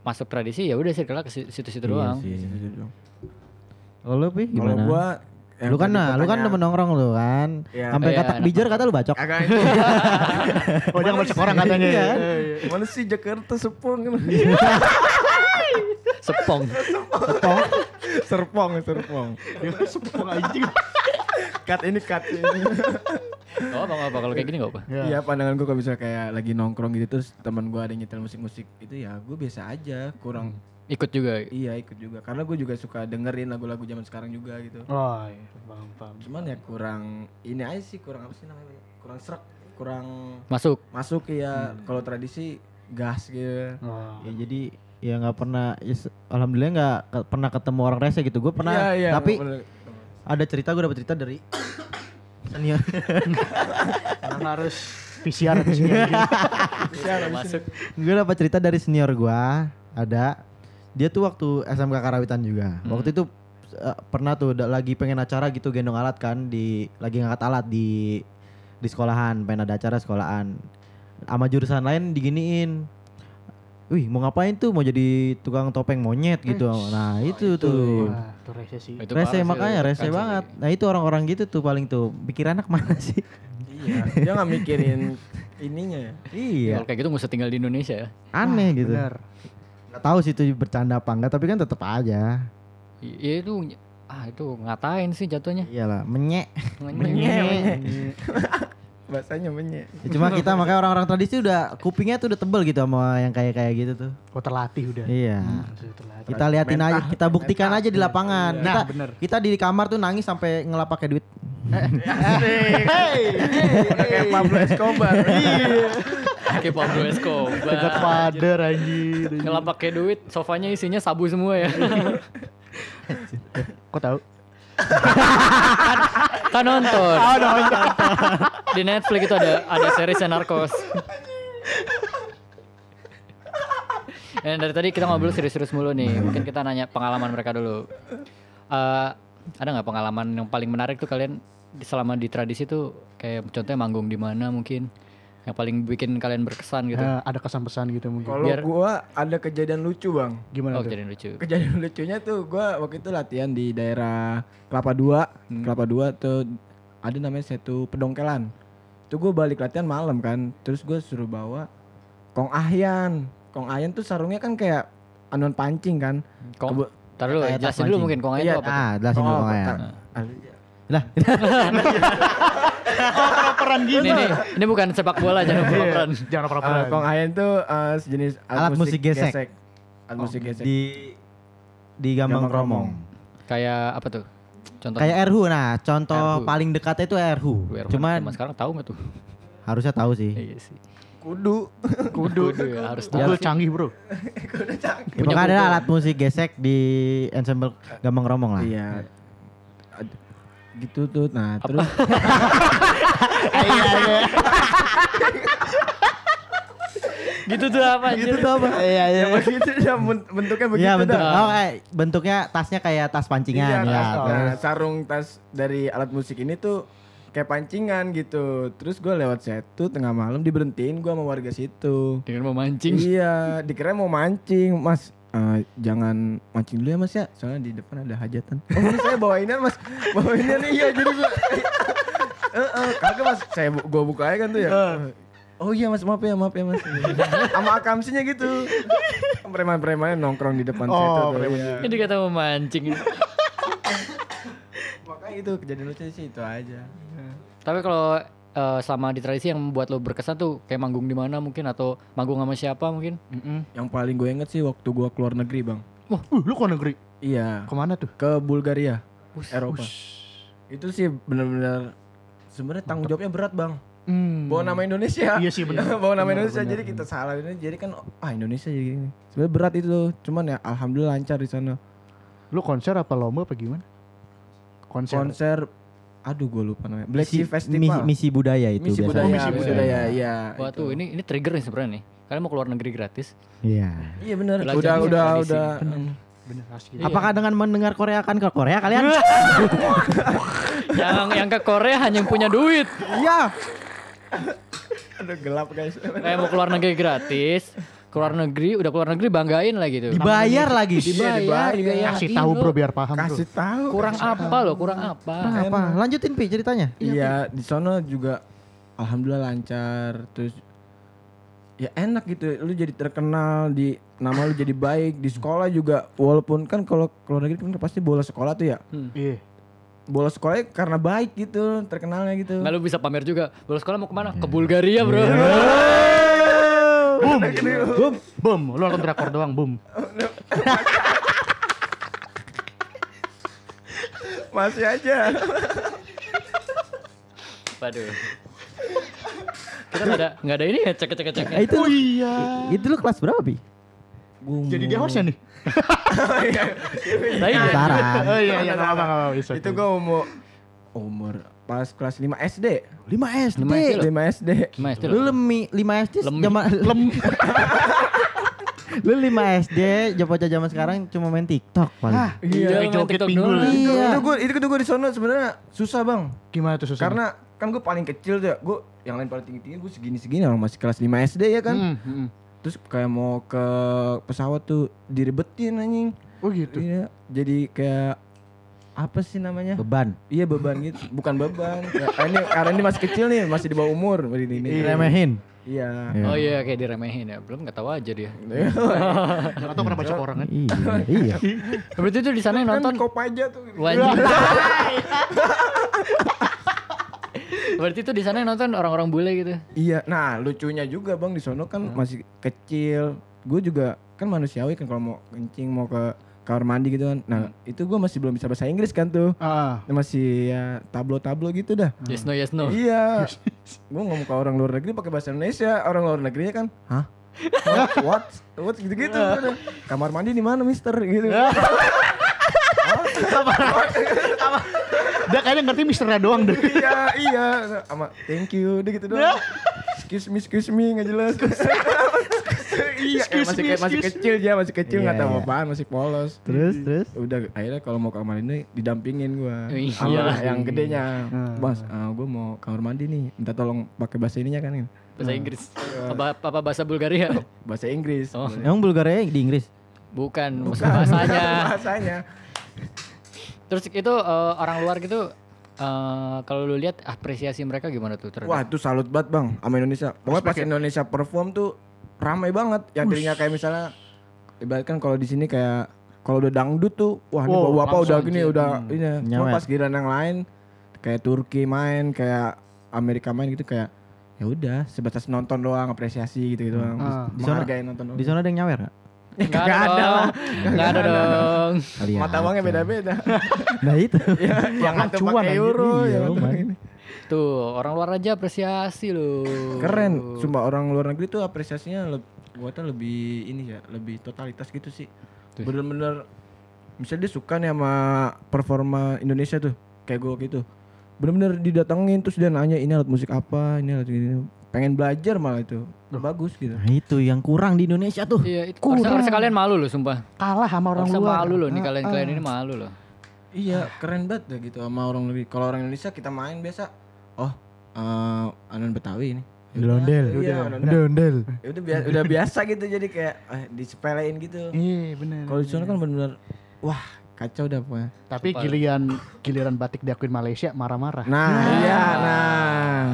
Speaker 2: masuk tradisi ya udah sih kalau ke si- situ-situ
Speaker 4: Iya
Speaker 2: doang
Speaker 4: sih. Kalau lu Pi,
Speaker 3: gitu Kalau
Speaker 4: gimana?
Speaker 3: gua yang
Speaker 4: lu kan
Speaker 3: tadi
Speaker 4: nah, lu kan
Speaker 3: pertanyaan-
Speaker 4: demen nongkrong lu kan.
Speaker 3: Iya.
Speaker 4: Sampai
Speaker 2: Oh, iya,
Speaker 4: kata
Speaker 2: enak
Speaker 4: bijor kata lu bacok.
Speaker 3: Agak
Speaker 1: Oh dia ngomong orang katanya.
Speaker 4: Iya.
Speaker 1: Eh, iya.
Speaker 3: mana sih Jakarta sepong
Speaker 2: sepong
Speaker 4: Kok?
Speaker 3: serpong serpong
Speaker 1: Dia sepong anjing.
Speaker 3: cut ini cut ini
Speaker 2: oh apa apa kalau kayak gini nggak apa
Speaker 1: Iya.
Speaker 3: Iya pandangan gue kalau bisa kayak lagi nongkrong gitu terus teman gue ada yang nyetel musik-musik itu ya gue biasa aja kurang
Speaker 4: Hmm.
Speaker 2: ikut juga
Speaker 3: iya ikut juga karena gue juga suka dengerin lagu-lagu zaman sekarang juga gitu
Speaker 1: Oh iya. Paham, paham.
Speaker 3: cuman ya kurang ini aja sih kurang apa sih namanya kurang serak kurang
Speaker 2: masuk
Speaker 3: masuk ya kalau tradisi gas gitu
Speaker 1: Oh.
Speaker 4: Ya jadi ya nggak pernah ya se- alhamdulillah nggak ke- pernah ketemu orang rese gitu. Gue pernah
Speaker 3: Iya, iya,
Speaker 4: tapi
Speaker 3: bener.
Speaker 4: ada cerita gue dapat cerita dari senior.
Speaker 1: Emang harus PCR di sini.
Speaker 3: Iya,
Speaker 2: masuk
Speaker 4: gue dapat cerita dari senior gue ada dia tuh waktu SMK Karawitan juga.
Speaker 2: Hmm.
Speaker 4: Waktu itu eh, pernah tuh da- lagi pengen acara gitu gendong alat kan di lagi ngangkat alat di di sekolahan pengen ada acara sekolahan sama jurusan lain diginiin Wih mau ngapain tuh mau jadi tukang topeng monyet gitu Nah itu, tuh
Speaker 1: Wah, tuh rese sih.
Speaker 2: Itu parah
Speaker 4: rese
Speaker 2: sih, Kan
Speaker 4: makanya
Speaker 2: itu
Speaker 4: rese
Speaker 2: kacau
Speaker 4: banget.
Speaker 2: sih.
Speaker 4: Nah itu orang-orang gitu tuh paling tuh pikir anak mana sih?
Speaker 3: iya dia nggak mikirin ininya ya
Speaker 4: iya,
Speaker 2: Kalau kayak gitu nggak usah tinggal di Indonesia ya.
Speaker 4: aneh gitu.
Speaker 1: Bener.
Speaker 4: Gak tahu sih itu bercanda apa enggak, tapi kan tetap aja.
Speaker 2: I- Ya itu ah itu ngatain sih jatuhnya.
Speaker 4: Iyalah, menyek.
Speaker 3: bahasanya menye
Speaker 4: Ya, cuma kita makanya orang-orang tradisi udah kupingnya tuh udah tebel gitu sama yang kayak kayak gitu tuh.
Speaker 1: Oh terlatih udah.
Speaker 4: Iya.
Speaker 1: Sudah terlatih.
Speaker 4: Kita liatin aja, kita buktikan aja di lapangan.
Speaker 1: Nah,
Speaker 4: Kita,
Speaker 1: bener.
Speaker 4: kita di kamar tuh nangis sampai ngelap pakai duit.
Speaker 3: Udah kayak Pablo Escobar
Speaker 2: Kayak Pablo Escobar.
Speaker 1: The Godfather anjir.
Speaker 2: Ngelap pakai duit, sofanya isinya sabu semua ya.
Speaker 1: Kok tahu?
Speaker 2: kan nonton.
Speaker 4: Oh,
Speaker 2: Di Netflix itu ada ada series Narcos. Dan dari tadi kita ngobrol serius-serius mulu nih. Mungkin kita nanya pengalaman mereka dulu. Eh, ada nggak pengalaman yang paling menarik tuh kalian di- selama di tradisi tuh kayak contohnya manggung di mana mungkin yang paling bikin kalian berkesan
Speaker 4: Ah,
Speaker 2: gitu.
Speaker 1: Eh, ada kesan pesan gitu mungkin.
Speaker 3: kalau
Speaker 2: Biar-
Speaker 3: gua ada kejadian lucu bang
Speaker 1: Gimana
Speaker 2: Oh,
Speaker 1: tuh?
Speaker 2: kejadian lucu.
Speaker 3: kejadian lucunya tuh gua waktu itu latihan di daerah Kelapa 2 Kelapa 2 tuh ada namanya satu pedongkelan itu gue balik latihan malam kan terus gue suruh bawa kong ahyan kong ahyan tuh sarungnya kan kayak anuan pancing kan
Speaker 2: Kong,
Speaker 3: Kebe-
Speaker 2: taruh dulu,
Speaker 4: kayak tas
Speaker 2: jelasin dulu
Speaker 4: mancing.
Speaker 2: mungkin kongnya itu apa. tuh?
Speaker 4: Ah, jelasin dulu
Speaker 3: Oh,
Speaker 4: pokoknya.
Speaker 3: tak- ah,
Speaker 4: Lah,
Speaker 1: Peran
Speaker 2: Ini, ini, ini bukan sepak bola
Speaker 4: Iya.
Speaker 2: jangan peran.
Speaker 1: Jangan
Speaker 3: ah,
Speaker 1: pernah
Speaker 3: kong ahyan tuh ah, sejenis
Speaker 4: Alat musik gesek. Oh,
Speaker 3: alat musik gesek
Speaker 4: di di Gambang
Speaker 3: Gambang Kromong.
Speaker 4: Kromong.
Speaker 2: Kayak apa tuh? Contoh
Speaker 4: Kayak Erhu nah, contoh
Speaker 2: Erhu.
Speaker 4: paling dekatnya itu Erhu.
Speaker 2: Cuma
Speaker 4: Cuma
Speaker 2: sekarang tahu nggak tuh?
Speaker 4: harusnya tahu sih.
Speaker 2: Iya sih.
Speaker 3: kudu
Speaker 2: Kudu, ya, harus
Speaker 3: Iya
Speaker 2: tahu.
Speaker 1: Google canggih bro.
Speaker 4: Ya,
Speaker 2: Punya
Speaker 4: pokoknya ada
Speaker 2: Google.
Speaker 4: alat musik gesek di ensemble Gambang Kromong lah.
Speaker 3: iya Ad- gitu tuh nah terus
Speaker 2: Gitu tuh apa anjir?
Speaker 4: Itu tuh apa? Iya, iya.
Speaker 3: yang Ya, begitu dah, ben- bentuknya begitu
Speaker 4: Iya bentuk,
Speaker 3: dah.
Speaker 4: oh, eh, bentuknya tasnya kayak tas
Speaker 3: Iya,
Speaker 4: pancingan ya.
Speaker 3: tas-
Speaker 4: terus.
Speaker 3: nah, sarung tas dari alat musik ini tuh kayak pancingan gitu. Terus gue lewat setu tengah malam diberhentiin gue sama warga situ.
Speaker 2: dengan memancing
Speaker 3: iya, dikira mau mancing, Mas. eh, jangan mancing dulu ya mas ya soalnya di depan ada hajatan oh ini saya bawainnya mas bawainnya nih iya jadi gua Eh, eh, kagak mas saya bu- gua buka aja kan tuh ya oh iya mas maaf ya maaf ya mas sama akamsinya gitu preman-premannya nongkrong di depan
Speaker 1: Oh,
Speaker 3: setu tuh,
Speaker 1: preman
Speaker 3: iya.
Speaker 2: ini kata memancing
Speaker 3: makanya itu kejadian lucu sih itu aja
Speaker 2: tapi kalau eh, selama di tradisi yang membuat lo berkesan tuh kayak manggung di mana mungkin atau manggung sama siapa mungkin
Speaker 3: Yang paling gue inget sih waktu gue keluar negeri bang.
Speaker 1: Wah, uh, lu ke negeri?
Speaker 3: Iya.
Speaker 1: Kemana tuh?
Speaker 3: Ke Bulgaria,
Speaker 2: Bus-
Speaker 3: Eropa. Itu sih bener-bener sebenarnya tanggung jawabnya berat bang.
Speaker 1: Hmm.
Speaker 3: Bawa nama Indonesia.
Speaker 1: Iya sih, bener.
Speaker 3: Bawa nama
Speaker 1: Bener,
Speaker 3: Indonesia
Speaker 1: bener,
Speaker 3: jadi kita salah ini. Jadi kan ah Indonesia jadi gini. Sebenarnya berat itu tuh. Cuman ya alhamdulillah lancar di sana.
Speaker 1: Lu konser apa lomba apa gimana? Konser.
Speaker 3: Konser. Aduh gue lupa namanya. Black
Speaker 4: Misi-
Speaker 3: Sea Festival.
Speaker 4: Misi, misi budaya itu
Speaker 3: Misi
Speaker 4: biasanya.
Speaker 3: budaya.
Speaker 1: Oh, misi
Speaker 3: misi
Speaker 1: budaya.
Speaker 3: budaya. Iya.
Speaker 2: Wah
Speaker 3: itu.
Speaker 2: tuh ini ini trigger nih sebenarnya nih. Kalian mau keluar negeri gratis?
Speaker 4: Iya.
Speaker 3: Iya bener.
Speaker 2: Belajar
Speaker 3: Udah
Speaker 2: nih,
Speaker 3: udah
Speaker 2: tradisi.
Speaker 3: udah.
Speaker 1: Bener asli.
Speaker 2: Iya.
Speaker 4: Apakah dengan mendengar Korea kan ke Korea kalian?
Speaker 2: yang yang ke Korea hanya yang punya duit.
Speaker 3: Iya. Aduh gelap guys.
Speaker 2: Kayak mau keluar negeri gratis, keluar negeri udah keluar negeri banggain lah gitu.
Speaker 4: Dibayar lagi.
Speaker 3: Iya, dibayar.
Speaker 2: dibayarin.
Speaker 1: Kasih tahu
Speaker 2: Ih,
Speaker 1: bro
Speaker 2: lu
Speaker 1: biar paham bro.
Speaker 3: Kasih tahu.
Speaker 2: Kurang apa loh, kurang apa?
Speaker 4: Apa? Lanjutin Pi ceritanya.
Speaker 3: Iya, di sana juga alhamdulillah lancar. Terus ya enak gitu. Lu jadi terkenal di nama lu jadi baik di sekolah juga. Walaupun kan kalau kalau negeri kan pasti bola sekolah tuh ya.
Speaker 1: Iya.
Speaker 3: Bola sekolahnya karena baik gitu, terkenalnya gitu.
Speaker 1: Nah.
Speaker 2: Nggak lu bisa pamer juga. Bolos sekolah mau kemana? Ke Bulgaria bro.
Speaker 1: Boom. Boom. Boom. Lu nonton drakor doang, boom.
Speaker 3: Masih aja.
Speaker 2: Waduh. Kita nggak ada nggak ada ini ya cek cek cek.
Speaker 4: Eh, itu
Speaker 3: Oh,
Speaker 4: lu-
Speaker 1: iya.
Speaker 4: itu lu kelas berapa Pi?
Speaker 1: Jadi dia hostnya nih.
Speaker 2: Tapi
Speaker 4: Sekarang.
Speaker 1: Oh iya iya enggak apa-apa enggak apa-apa.
Speaker 3: Itu gua mau umur pas kelas 5 SD.
Speaker 4: 5 SD.
Speaker 2: Lima SD.
Speaker 3: 5 SD.
Speaker 2: Mas, itu
Speaker 4: Lu
Speaker 2: loh.
Speaker 4: lemi 5 SD
Speaker 2: Lemi.
Speaker 4: zaman lem. lu 5 SD, bocah zaman sekarang cuma main TikTok paling.
Speaker 2: Iya,
Speaker 1: Iya,
Speaker 2: main
Speaker 1: joget
Speaker 2: TikTok
Speaker 1: pinggul.
Speaker 2: doang.
Speaker 3: Itu,
Speaker 4: Iya.
Speaker 3: itu gua itu gua di sono sebenarnya susah, Bang.
Speaker 1: Gimana tuh susah?
Speaker 3: Karena kan gue paling kecil tuh, gue yang lain paling tinggi tinggi, gue segini segini orang masih kelas 5 SD ya kan.
Speaker 1: Hmm, hmm, hmm.
Speaker 3: Terus kayak mau ke pesawat tuh diribetin anjing.
Speaker 1: Oh gitu.
Speaker 3: Iya, jadi kayak apa sih namanya?
Speaker 4: Beban.
Speaker 3: iya beban gitu, bukan beban. Ya, ini karena ini masih kecil nih, masih di bawah umur ini. ini.
Speaker 1: Iya.
Speaker 4: Remehin.
Speaker 3: Iya.
Speaker 2: Oh iya kayak diremehin ya. Belum nggak tahu aja dia.
Speaker 1: Enggak tahu kenapa cek orang kan.
Speaker 4: Iya, iya.
Speaker 2: Berarti itu di sana yang
Speaker 3: Nonton
Speaker 2: nonton
Speaker 3: Kopaja tuh.
Speaker 2: Wajib. Berarti itu di sana yang nonton orang-orang bule gitu.
Speaker 3: Iya, nah lucunya juga bang di sono kan masih kecil. Gue juga kan manusiawi kan kalau mau kencing mau ke kamar mandi gitu kan. Nah itu gue masih belum bisa bahasa Inggris kan tuh.
Speaker 1: Heeh.
Speaker 3: Masih ya tablo-tablo gitu dah.
Speaker 2: Yes no yes no.
Speaker 3: Iya. gue ngomong ke orang luar negeri pakai bahasa Indonesia. Orang luar negerinya kan, hah? What? What? What? Gitu-gitu. Gua udah, Kamar mandi di mana, Mister? Gitu.
Speaker 1: Dia kayaknya ngerti misternya doang deh.
Speaker 3: iya, iya. Sama thank you, dia gitu doang. Excuse me, excuse me, nggak jelas. iya, eh,
Speaker 1: Excuse
Speaker 3: masih,
Speaker 1: me,
Speaker 3: ke- masih
Speaker 1: excuse
Speaker 3: kecil dia, masih kecil nggak
Speaker 4: Iya,
Speaker 3: tahu
Speaker 4: iya.
Speaker 3: apaan, masih polos.
Speaker 4: Terus, terus.
Speaker 3: Udah akhirnya kalau mau kamar ini didampingin gua.
Speaker 2: Iya.
Speaker 3: Sama yang gedenya.
Speaker 4: Hmm.
Speaker 3: Mas, ah, gua mau kamar mandi nih. Minta tolong pakai bahasa ininya kan.
Speaker 2: Bahasa Inggris. Apa, apa bahasa Bulgaria?
Speaker 3: Bahasa Inggris.
Speaker 2: Oh.
Speaker 4: Emang Bulgaria di Inggris?
Speaker 2: Bukan, maksud
Speaker 3: Bukan,
Speaker 2: bahasanya.
Speaker 3: bahasanya.
Speaker 2: Terus itu eh, orang luar gitu eh, kalau lu lihat apresiasi mereka gimana tuh
Speaker 3: Wah
Speaker 2: terhadap
Speaker 3: itu salut banget bang sama Indonesia. Pokoknya pas Indonesia perform tuh ramai banget. Yang tadinya kayak misalnya ibaratkan kalau di sini kayak kalau udah dangdut tuh wah ini
Speaker 1: Wow,
Speaker 3: bapak udah
Speaker 2: langsung
Speaker 3: gini
Speaker 2: anjing.
Speaker 3: udah ini. Cuma
Speaker 4: Nyawet.
Speaker 3: pas giliran yang lain kayak Turki main, kayak Amerika main gitu kayak ya udah sebatas nonton doang apresiasi gitu gitu doang.
Speaker 1: Ah,
Speaker 4: di sana-
Speaker 3: Menghargai nonton doang.
Speaker 4: Di sana ada yang nyawer enggak?
Speaker 2: Nggak ada dong. Nggak ada dong.
Speaker 3: Mata uangnya beda-beda.
Speaker 4: Iya. Nah, itu.
Speaker 3: ya, yang satu
Speaker 1: Acuan
Speaker 3: pakai
Speaker 1: anjing.
Speaker 3: euro, ya kan?
Speaker 4: Iya,
Speaker 3: yang satu
Speaker 4: man.
Speaker 3: pakai ini.
Speaker 2: Tuh, orang luar aja apresiasi lu.
Speaker 3: Keren, sumpah orang luar negeri tuh apresiasinya leb- gua tuh lebih ini ya, lebih totalitas gitu sih.
Speaker 2: Tuh.
Speaker 3: Bener-bener misalnya dia suka nih sama performa Indonesia tuh, kayak gua gitu. Bener-bener didatengin terus dia nanya ini alat musik apa, ini alat ini. Pengen belajar malah itu. Bagus gitu.
Speaker 4: Nah, itu yang kurang di Indonesia tuh.
Speaker 2: Iya, itu harusnya, harusnya kalian malu loh sumpah.
Speaker 1: Kalah sama orang
Speaker 2: Harusnya
Speaker 1: luar. Ah,
Speaker 2: malu loh nih kalian kalian ini malu loh.
Speaker 3: ya Iya, keren banget dah gitu sama orang negeri. Kalau orang Indonesia kita main biasa oh eh anon Betawi ini.
Speaker 5: Delondel.
Speaker 3: Iya, anon Betawi.
Speaker 5: Delondel.
Speaker 3: Ya udah biasa udah biasa gitu jadi kayak eh, disepelein gitu.
Speaker 1: Iya bener.
Speaker 3: Kalau di sana kan benar-benar wah kacau dah pokoknya.
Speaker 1: Tapi
Speaker 2: Sumpah.
Speaker 1: giliran giliran batik diakuin Malaysia marah-marah.
Speaker 3: Nah, iya nah.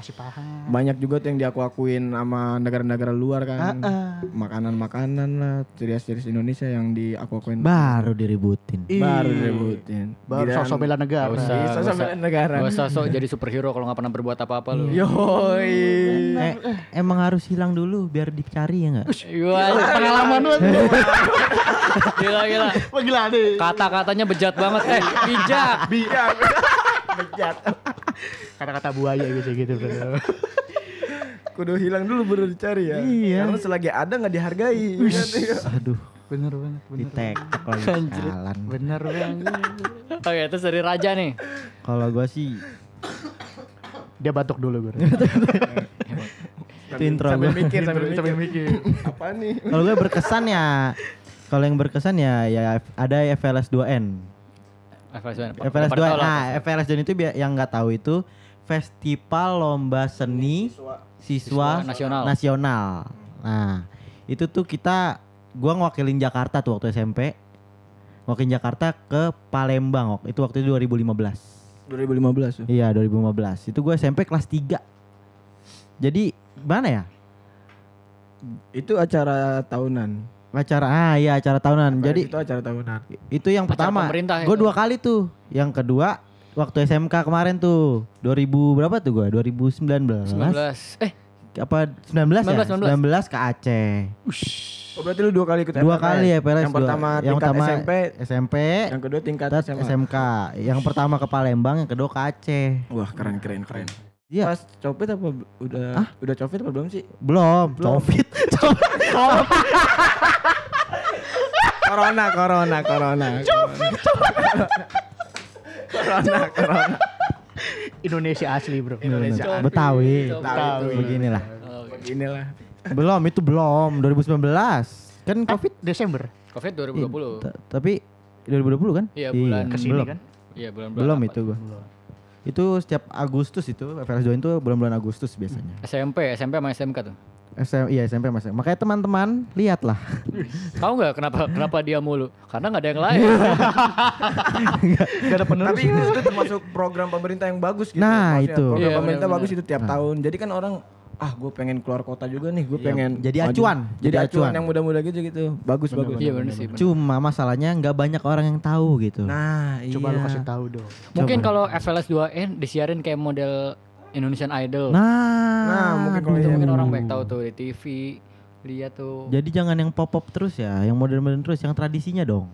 Speaker 1: Kasih paham.
Speaker 3: Banyak juga tuh yang diaku-akuin sama negara-negara luar kan.
Speaker 1: Ah,
Speaker 4: Hmm.
Speaker 3: Makanan-makanan lah, ciri-ciri Indonesia yang diaku-akuin.
Speaker 4: Baru diributin.
Speaker 1: Ih.
Speaker 3: Baru direbutin.
Speaker 1: Baru
Speaker 3: Giliran-
Speaker 1: sosok bela negara.
Speaker 2: Nggak usah.
Speaker 3: Iya, sosok
Speaker 2: nggak
Speaker 3: bela negara.
Speaker 2: Gak usah sok jadi superhero kalau nggak pernah berbuat apa-apa lu.
Speaker 3: Yoi.
Speaker 4: Eh, emang harus hilang dulu biar dicari ya nggak?
Speaker 2: Iya, pengalaman lu. Gila gila.
Speaker 1: Wah gila deh.
Speaker 2: Kata-katanya bejat banget. Eh, bijak.
Speaker 3: Iya.
Speaker 1: Kata-kata buaya gitu gitu. bro.
Speaker 3: Kudu hilang dulu baru dicari ya.
Speaker 4: Iya.
Speaker 3: Karena selagi ada nggak dihargai. Iya,
Speaker 4: Aduh,
Speaker 1: bener banget. Bener.
Speaker 4: ditekek lagi jalan.
Speaker 1: Bener banget.
Speaker 2: Oke, terus dari raja nih.
Speaker 4: Kalau gua sih
Speaker 1: Dia batuk dulu gue.
Speaker 4: itu intro
Speaker 3: sambil
Speaker 4: gua.
Speaker 3: mikir, sambil mikir.
Speaker 1: Sambil mikir.
Speaker 3: Apa nih?
Speaker 4: Kalau gue berkesan ya kalau yang berkesan ya ya ada FLS 2N.
Speaker 2: FLS 2N.
Speaker 4: FLS
Speaker 2: Eh, Pada
Speaker 4: 2N.
Speaker 2: tahu lah.
Speaker 4: Nah, FLS 2N itu bi- yang nggak tahu itu festival lomba seni siswa,
Speaker 2: Siswa nasional.
Speaker 4: nasional. Nah, itu tuh kita gua ngwakilin Jakarta tuh waktu SMP. Ngwakilin Jakarta ke Palembang. wak- Itu waktu itu 2015.
Speaker 3: 2015 tuh.
Speaker 4: Iya 2015 Itu gue SMP kelas 3 Jadi mana ya
Speaker 3: Itu acara tahunan.
Speaker 4: Acara ah iya acara tahunan Jadi
Speaker 3: itu acara tahunan.
Speaker 4: itu yang
Speaker 2: Acara
Speaker 4: pertama
Speaker 2: pemerintah
Speaker 4: Gue
Speaker 2: itu.
Speaker 4: dua kali tuh Yang kedua Waktu SMK kemarin tuh 2000 berapa tuh gue 2019
Speaker 2: 19. Eh,
Speaker 4: Apa 19, ya
Speaker 2: 19.
Speaker 4: 19 ke Aceh
Speaker 3: Oh, berarti lu dua kali ikut
Speaker 4: Dua
Speaker 3: FLS.
Speaker 4: kali ya Peres
Speaker 3: Yang pertama
Speaker 4: yang
Speaker 3: tingkat
Speaker 4: pertama
Speaker 3: SMP,
Speaker 4: SMP
Speaker 3: yang kedua tingkat
Speaker 4: tingkat
Speaker 3: SMA.
Speaker 4: SMK Yang pertama ke Palembang Yang kedua ke Aceh
Speaker 3: Wah, keren keren keren.
Speaker 4: Iya.
Speaker 3: Pas copet apa b- udah udah copet apa belum sih?
Speaker 4: Belum, Covid
Speaker 3: corona, corona, corona. Copet. corona, corona.
Speaker 1: Indonesia asli bro.
Speaker 3: Indonesia.
Speaker 4: Betawi
Speaker 3: Betawi.
Speaker 4: Beginilah
Speaker 2: oke.
Speaker 3: Inilah.
Speaker 4: Belum, itu belum. 2019.
Speaker 2: Eh.
Speaker 4: Kan Covid.
Speaker 1: Desember
Speaker 2: Covid
Speaker 4: Ih,
Speaker 2: 2020.
Speaker 4: ta- Tapi 2020 kan?
Speaker 2: Iya, bulan
Speaker 1: kesini
Speaker 4: belum.
Speaker 1: kan.
Speaker 2: Iya, bulan-bulan.
Speaker 4: Belum
Speaker 2: apa
Speaker 4: itu
Speaker 2: tuh?
Speaker 4: gua. Itu setiap Agustus itu FLS Join itu bulan-bulan Agustus biasanya.
Speaker 2: SMP, SMP sama SMK tuh.
Speaker 4: SM, iya SMP Mas. Makanya teman-teman lihatlah.
Speaker 2: Tahu nggak kenapa kenapa dia mulu? Karena nggak ada yang lain.
Speaker 4: Iya,
Speaker 2: Iya,
Speaker 1: Gak ada penerus.
Speaker 3: Tapi itu termasuk program pemerintah yang bagus gitu.
Speaker 4: Nah, itu. Nah.
Speaker 3: Program
Speaker 2: Iya,
Speaker 3: pemerintah
Speaker 2: benar-benar.
Speaker 3: bagus itu tiap tahun. Jadi kan orang ah gue pengen keluar kota juga nih, gue pengen
Speaker 4: jadi
Speaker 3: maju.
Speaker 4: acuan,
Speaker 3: Jadi
Speaker 4: jadi
Speaker 3: acuan
Speaker 4: acuan.
Speaker 3: yang muda-muda gitu gitu. Bagus bagus.
Speaker 2: Iya benar sih. bener.
Speaker 4: Cuma masalahnya nggak banyak orang yang tahu gitu.
Speaker 3: Nah,
Speaker 1: Coba
Speaker 3: iya.
Speaker 1: lu kasih tahu dong.
Speaker 2: Mungkin kalau FLS 2N disiarin kayak model Indonesian Idol.
Speaker 4: Nah,
Speaker 3: Nah, mungkin kalau
Speaker 2: itu
Speaker 3: iya.
Speaker 2: mungkin orang banyak tahu tuh di TV, lihat tuh.
Speaker 4: jadi jangan yang pop-pop terus ya, yang modern-modern terus, yang tradisinya dong.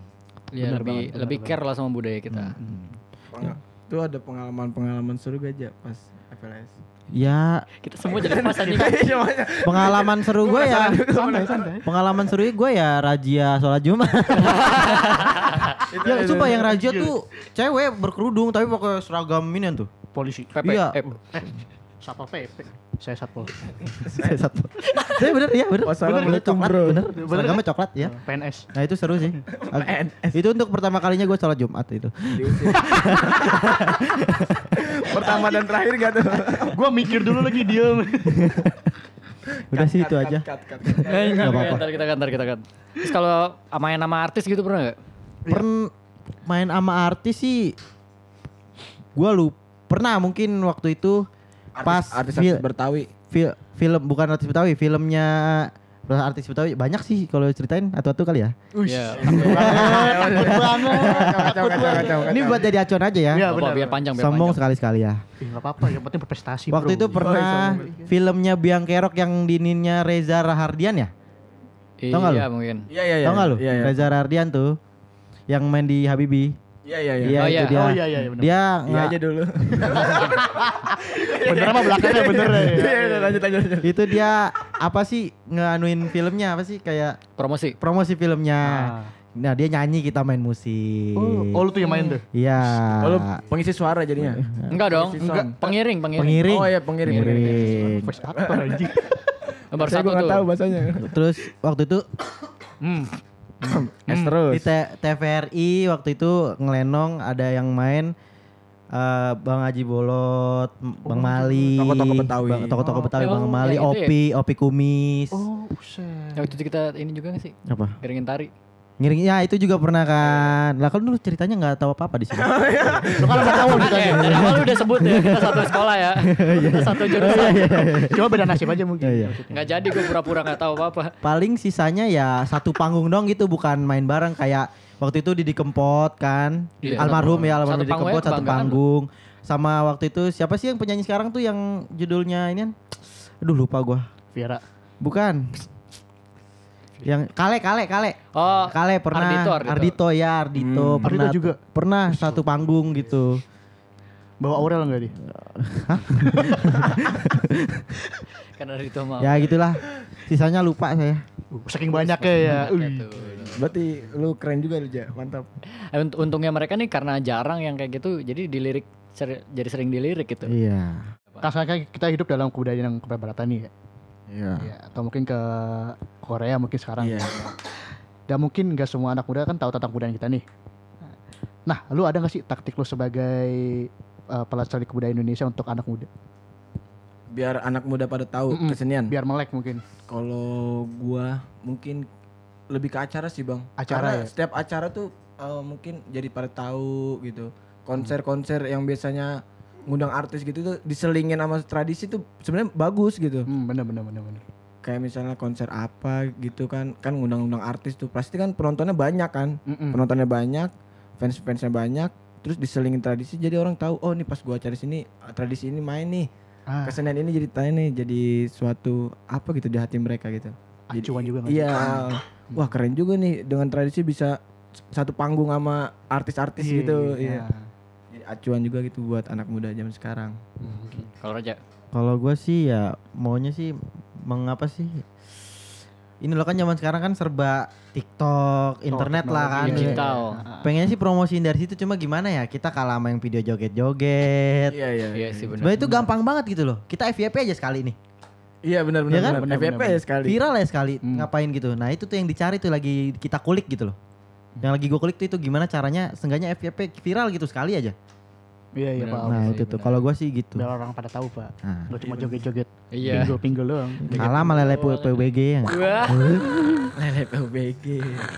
Speaker 2: Ya,
Speaker 1: bener
Speaker 2: lebih
Speaker 1: banget, bener
Speaker 2: lebih care lah sama budaya kita.
Speaker 4: Hmm.
Speaker 3: Penga- Itu ada pengalaman-pengalaman seru gak aja pas FLS?
Speaker 4: Ya,
Speaker 2: Kita semua jadi kan? pas anjing.
Speaker 4: pengalaman seru gue ya. Pengalaman seru gue ya razia sholat Jumat. ya, sumpah yang razia tuh cewek berkerudung tapi pakai seragam minian tuh.
Speaker 1: Polisi.
Speaker 2: Pepe,
Speaker 4: Iya.
Speaker 2: eh,
Speaker 1: Satpol PP. Saya satpol.
Speaker 4: Saya satu. Saya bener ya, bener. bener,
Speaker 3: Wassalamualaikum, Eh.
Speaker 4: coklat,
Speaker 3: bro.
Speaker 4: bener.
Speaker 1: Bener.
Speaker 4: Seragamnya coklat ya.
Speaker 1: PNS.
Speaker 4: Nah itu seru sih. itu untuk pertama kalinya gue sholat Jumat itu.
Speaker 3: Diusir. Pertama dan terakhir gak tuh?
Speaker 1: Gua mikir dulu lagi diem.
Speaker 4: Udah sih itu aja.
Speaker 3: Cut, cut, cut, cut.
Speaker 2: Eh,
Speaker 4: Nggak apa-apa.
Speaker 2: Ntar kita kan, ntar kita kan. Terus kalau main sama artis gitu pernah nggak?
Speaker 4: Pern main sama artis sih gue lu pernah mungkin waktu itu pas
Speaker 3: artis,
Speaker 4: fil-
Speaker 3: artis Bertawi.
Speaker 4: fil- film bukan artis Betawi, filmnya artis Betawi banyak sih kalau ceritain atau tuh kali ya.
Speaker 2: Iya.
Speaker 1: Takut banget.
Speaker 3: Kacau, kacau, kacau,
Speaker 4: Ini buat jadi acuan aja ya.
Speaker 1: Iya
Speaker 2: Nggak apa-apa,
Speaker 1: benar.
Speaker 2: biar panjang, biar
Speaker 4: Sombong
Speaker 2: panjang.
Speaker 4: sekali-sekali ya.
Speaker 1: Ih, nggak apa-apa, yang penting berprestasi.
Speaker 4: Waktu
Speaker 1: bro.
Speaker 4: itu pernah
Speaker 3: Oh, iya, sombong
Speaker 4: filmnya Biang Kerok yang dininnya Reza Rahardian ya? Tau nggak lu?
Speaker 2: Iya mungkin.
Speaker 3: Iya, iya, iya.
Speaker 4: Tau gak lu?
Speaker 3: Iya, iya.
Speaker 4: Reza Rahardian tuh yang main di Habibi.
Speaker 3: Iya, iya, iya.
Speaker 4: Iya,
Speaker 2: Oh,
Speaker 4: itu
Speaker 2: iya.
Speaker 4: dia.
Speaker 1: Oh, iya, iya, benar.
Speaker 4: Dia
Speaker 3: Iya
Speaker 4: nggak-
Speaker 3: aja dulu.
Speaker 1: bener apa belakangnya bener ya.
Speaker 3: Iya, iya, lanjut, lanjut, lanjut.
Speaker 4: itu dia apa sih ngeanuin filmnya apa sih kayak
Speaker 2: Promosi.
Speaker 3: Ah.
Speaker 4: promosi filmnya. Nah, dia nyanyi kita main musik.
Speaker 1: Oh, oh, lu tuh yang main tuh.
Speaker 4: Iya.
Speaker 3: Oh, lu pengisi suara jadinya.
Speaker 2: Enggak dong,
Speaker 3: Promosi
Speaker 2: enggak.
Speaker 3: song.
Speaker 2: Pengiring, pengiring.
Speaker 4: Pengiring.
Speaker 3: Oh iya, pengiring. pengiring.
Speaker 4: Pengiring.
Speaker 1: Voice actor anjing.
Speaker 2: Nomor
Speaker 3: Saya
Speaker 2: Eh, satu
Speaker 3: gue gak
Speaker 2: tuh.
Speaker 3: tahu bahasanya.
Speaker 4: Terus waktu itu
Speaker 2: Hmm.
Speaker 3: Es
Speaker 1: Hmm.
Speaker 3: terus.
Speaker 4: di T- TVRI waktu itu ngelenong ada yang main eh, Bang Haji Bolot, M- Bang Mali,
Speaker 3: Tokoh-tokoh Betawi.
Speaker 4: Bang- Tokoh-tokoh
Speaker 2: Oh,
Speaker 4: Betawi,
Speaker 2: emang
Speaker 4: Bang Mali,
Speaker 2: kayak gitu ya?
Speaker 4: Opi, Opi Kumis.
Speaker 1: Oh, buset.
Speaker 2: Yang waktu itu kita ini juga gak sih?
Speaker 4: Apa?
Speaker 2: Geringin tari.
Speaker 4: Ngiring ya itu juga pernah kan. Lah kan dulu ceritanya nggak tahu apa-apa di sini.
Speaker 2: Oh,
Speaker 1: Lu kan nggak tahu
Speaker 2: Oke,
Speaker 1: ceritanya.
Speaker 2: dari awal gitu. lu udah sebut ya kita satu sekolah ya. Kita satu jurusan.
Speaker 1: Iya. Cuma beda nasib aja mungkin.
Speaker 4: Iya, iya.
Speaker 1: maksudnya.
Speaker 2: Nggak jadi gue pura-pura nggak tahu apa-apa.
Speaker 4: Paling sisanya ya satu panggung dong gitu bukan main bareng kayak waktu itu Didi Kempot kan.
Speaker 2: Iya,
Speaker 4: almarhum
Speaker 2: satu-
Speaker 4: ya almarhum
Speaker 2: satu
Speaker 4: Didi
Speaker 2: panggung
Speaker 4: Kempot
Speaker 2: ya
Speaker 4: satu
Speaker 2: kebanggaan
Speaker 4: panggung. Sama waktu itu siapa sih yang penyanyi sekarang tuh yang judulnya ini kan? Aduh lupa gua.
Speaker 1: Viera.
Speaker 4: Bukan. Yang Kale Kale Kale.
Speaker 2: Oh,
Speaker 4: Kale pernah
Speaker 2: Ardito,
Speaker 4: Ardito,
Speaker 2: Ardito.
Speaker 4: ya Ardito
Speaker 3: Hmm.
Speaker 4: pernah
Speaker 1: Ardito juga.
Speaker 4: pernah satu panggung gitu.
Speaker 1: Bawa Aurel enggak dia?
Speaker 2: karena itu kan mau.
Speaker 4: Ya gitulah. Sisanya lupa saya.
Speaker 1: Uh, Saking banyaknya ya. Ui.
Speaker 2: gitu.
Speaker 3: Berarti lu keren juga lu, Ja. Mantap.
Speaker 2: Eh, unt- Untungnya mereka nih karena jarang yang kayak gitu, jadi dilirik ser- jadi sering dilirik gitu.
Speaker 4: Iya.
Speaker 1: Karena Nah, kita hidup dalam kebudayaan yang kebaratan nih ya.
Speaker 4: Iya.
Speaker 1: Ya, atau mungkin ke Korea mungkin sekarang.
Speaker 3: Iya.
Speaker 1: Dan mungkin nggak semua anak muda kan tahu tentang kebudayaan kita nih. Nah, lu ada nggak sih taktik lu sebagai eh, pelestari kebudayaan Indonesia untuk anak muda?
Speaker 3: Biar anak muda pada tahu
Speaker 1: Mm-mm.
Speaker 3: kesenian.
Speaker 1: Biar melek mungkin.
Speaker 3: Kalau gua mungkin lebih ke acara sih, Bang.
Speaker 1: Acara
Speaker 3: Karena
Speaker 1: ya?
Speaker 3: setiap acara tuh eh, mungkin jadi pada tahu gitu. Konser-konser yang biasanya ngundang artis gitu tuh diselingin sama tradisi tuh sebenarnya bagus gitu.
Speaker 1: Hmm, bener bener bener bener.
Speaker 3: kayak misalnya konser apa gitu kan kan ngundang-undang artis tuh pasti kan penontonnya banyak kan
Speaker 1: Mm-mm.
Speaker 3: penontonnya banyak fans-fansnya banyak terus diselingin tradisi jadi orang tahu oh nih pas gua acara sini ah, tradisi ini main nih
Speaker 1: Ah,
Speaker 3: kesenian ini jadi tanya nih jadi suatu apa gitu di hati mereka gitu Jadi-
Speaker 1: acuan juga nggak sih? Ah,
Speaker 3: iya wah keren juga nih dengan tradisi bisa s- satu panggung sama artis-artis gitu iya
Speaker 1: Ah,
Speaker 3: Jadi acuan juga gitu buat anak muda zaman sekarang
Speaker 2: Kalau Raja,
Speaker 4: Kalau gua sih ya maunya sih mengapa sih? Ini loh kan zaman sekarang kan serba TikTok, internet lah kan.
Speaker 1: teknologi,
Speaker 4: Iya.
Speaker 2: Oh, digital.
Speaker 1: ah,
Speaker 4: Pengennya sih promosiin dari situ cuma gimana ya? Kita kalah sama yang video joget-joget.
Speaker 3: iya iya
Speaker 2: Iya sih benar.
Speaker 4: Sebenarnya itu gampang banget gitu loh. Kita FYP aja sekali nih.
Speaker 3: iya benar-benar
Speaker 4: Iya kan?
Speaker 3: benar. FYP ya sekali
Speaker 4: Viral ya sekali
Speaker 1: Hmm.
Speaker 4: ngapain gitu. Nah, itu tuh yang dicari tuh lagi kita kulik gitu loh. Yang lagi gue kulik tuh itu gimana caranya seenggaknya FYP viral gitu sekali aja.
Speaker 1: Iya iya
Speaker 2: Bener.
Speaker 1: Pak.
Speaker 4: Nah,
Speaker 2: sih,
Speaker 4: itu tuh
Speaker 2: benar.
Speaker 4: kalau gua sih gitu.
Speaker 1: Biar orang pada tahu Pak.
Speaker 4: Nah.
Speaker 1: Gak cuma joget-joget,
Speaker 2: Iya.
Speaker 1: pinggul-pinggul doang.
Speaker 4: Kalah sama lele
Speaker 2: doang.
Speaker 4: PWG ya.
Speaker 2: Wah.
Speaker 3: Lele PUBG.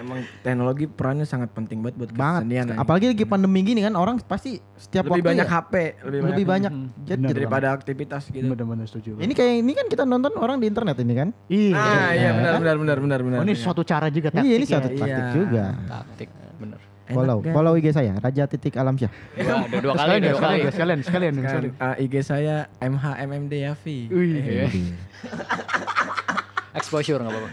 Speaker 3: Emang teknologi perannya sangat penting banget buat
Speaker 4: banget.
Speaker 3: kesenian. ya.
Speaker 4: Apalagi lagi pandemi gini kan orang pasti setiap
Speaker 3: lebih
Speaker 4: waktu
Speaker 3: banyak
Speaker 4: ya,
Speaker 3: HP, lebih,
Speaker 4: lebih banyak
Speaker 2: Hmm.
Speaker 4: gadget
Speaker 1: Benar.
Speaker 4: banget.
Speaker 3: daripada aktivitas gitu.
Speaker 1: Bener-bener setuju. Pak.
Speaker 4: Ini kayak ini kan kita nonton orang di internet ini kan.
Speaker 1: Iya.
Speaker 3: Ah, iya benar benar benar benar benar.
Speaker 1: Oh, ini
Speaker 3: Iya.
Speaker 1: suatu cara juga taktik
Speaker 4: Iya ini suatu
Speaker 1: ya.
Speaker 3: Iya.
Speaker 4: taktik juga.
Speaker 2: Taktik, bener.
Speaker 3: Enak
Speaker 4: Follow,
Speaker 3: kan?
Speaker 4: follow IG saya Raja titik Alamsyah.
Speaker 2: Dua, dua, dua kali, dua
Speaker 1: Iya, Sekalian, sekalian,
Speaker 2: kali.
Speaker 1: sekalian, sekalian,
Speaker 3: Kan,
Speaker 1: sekalian.
Speaker 3: ah, IG saya MHMMD Yafi.
Speaker 1: Wih.
Speaker 2: Iya. Exposure nggak apa-apa.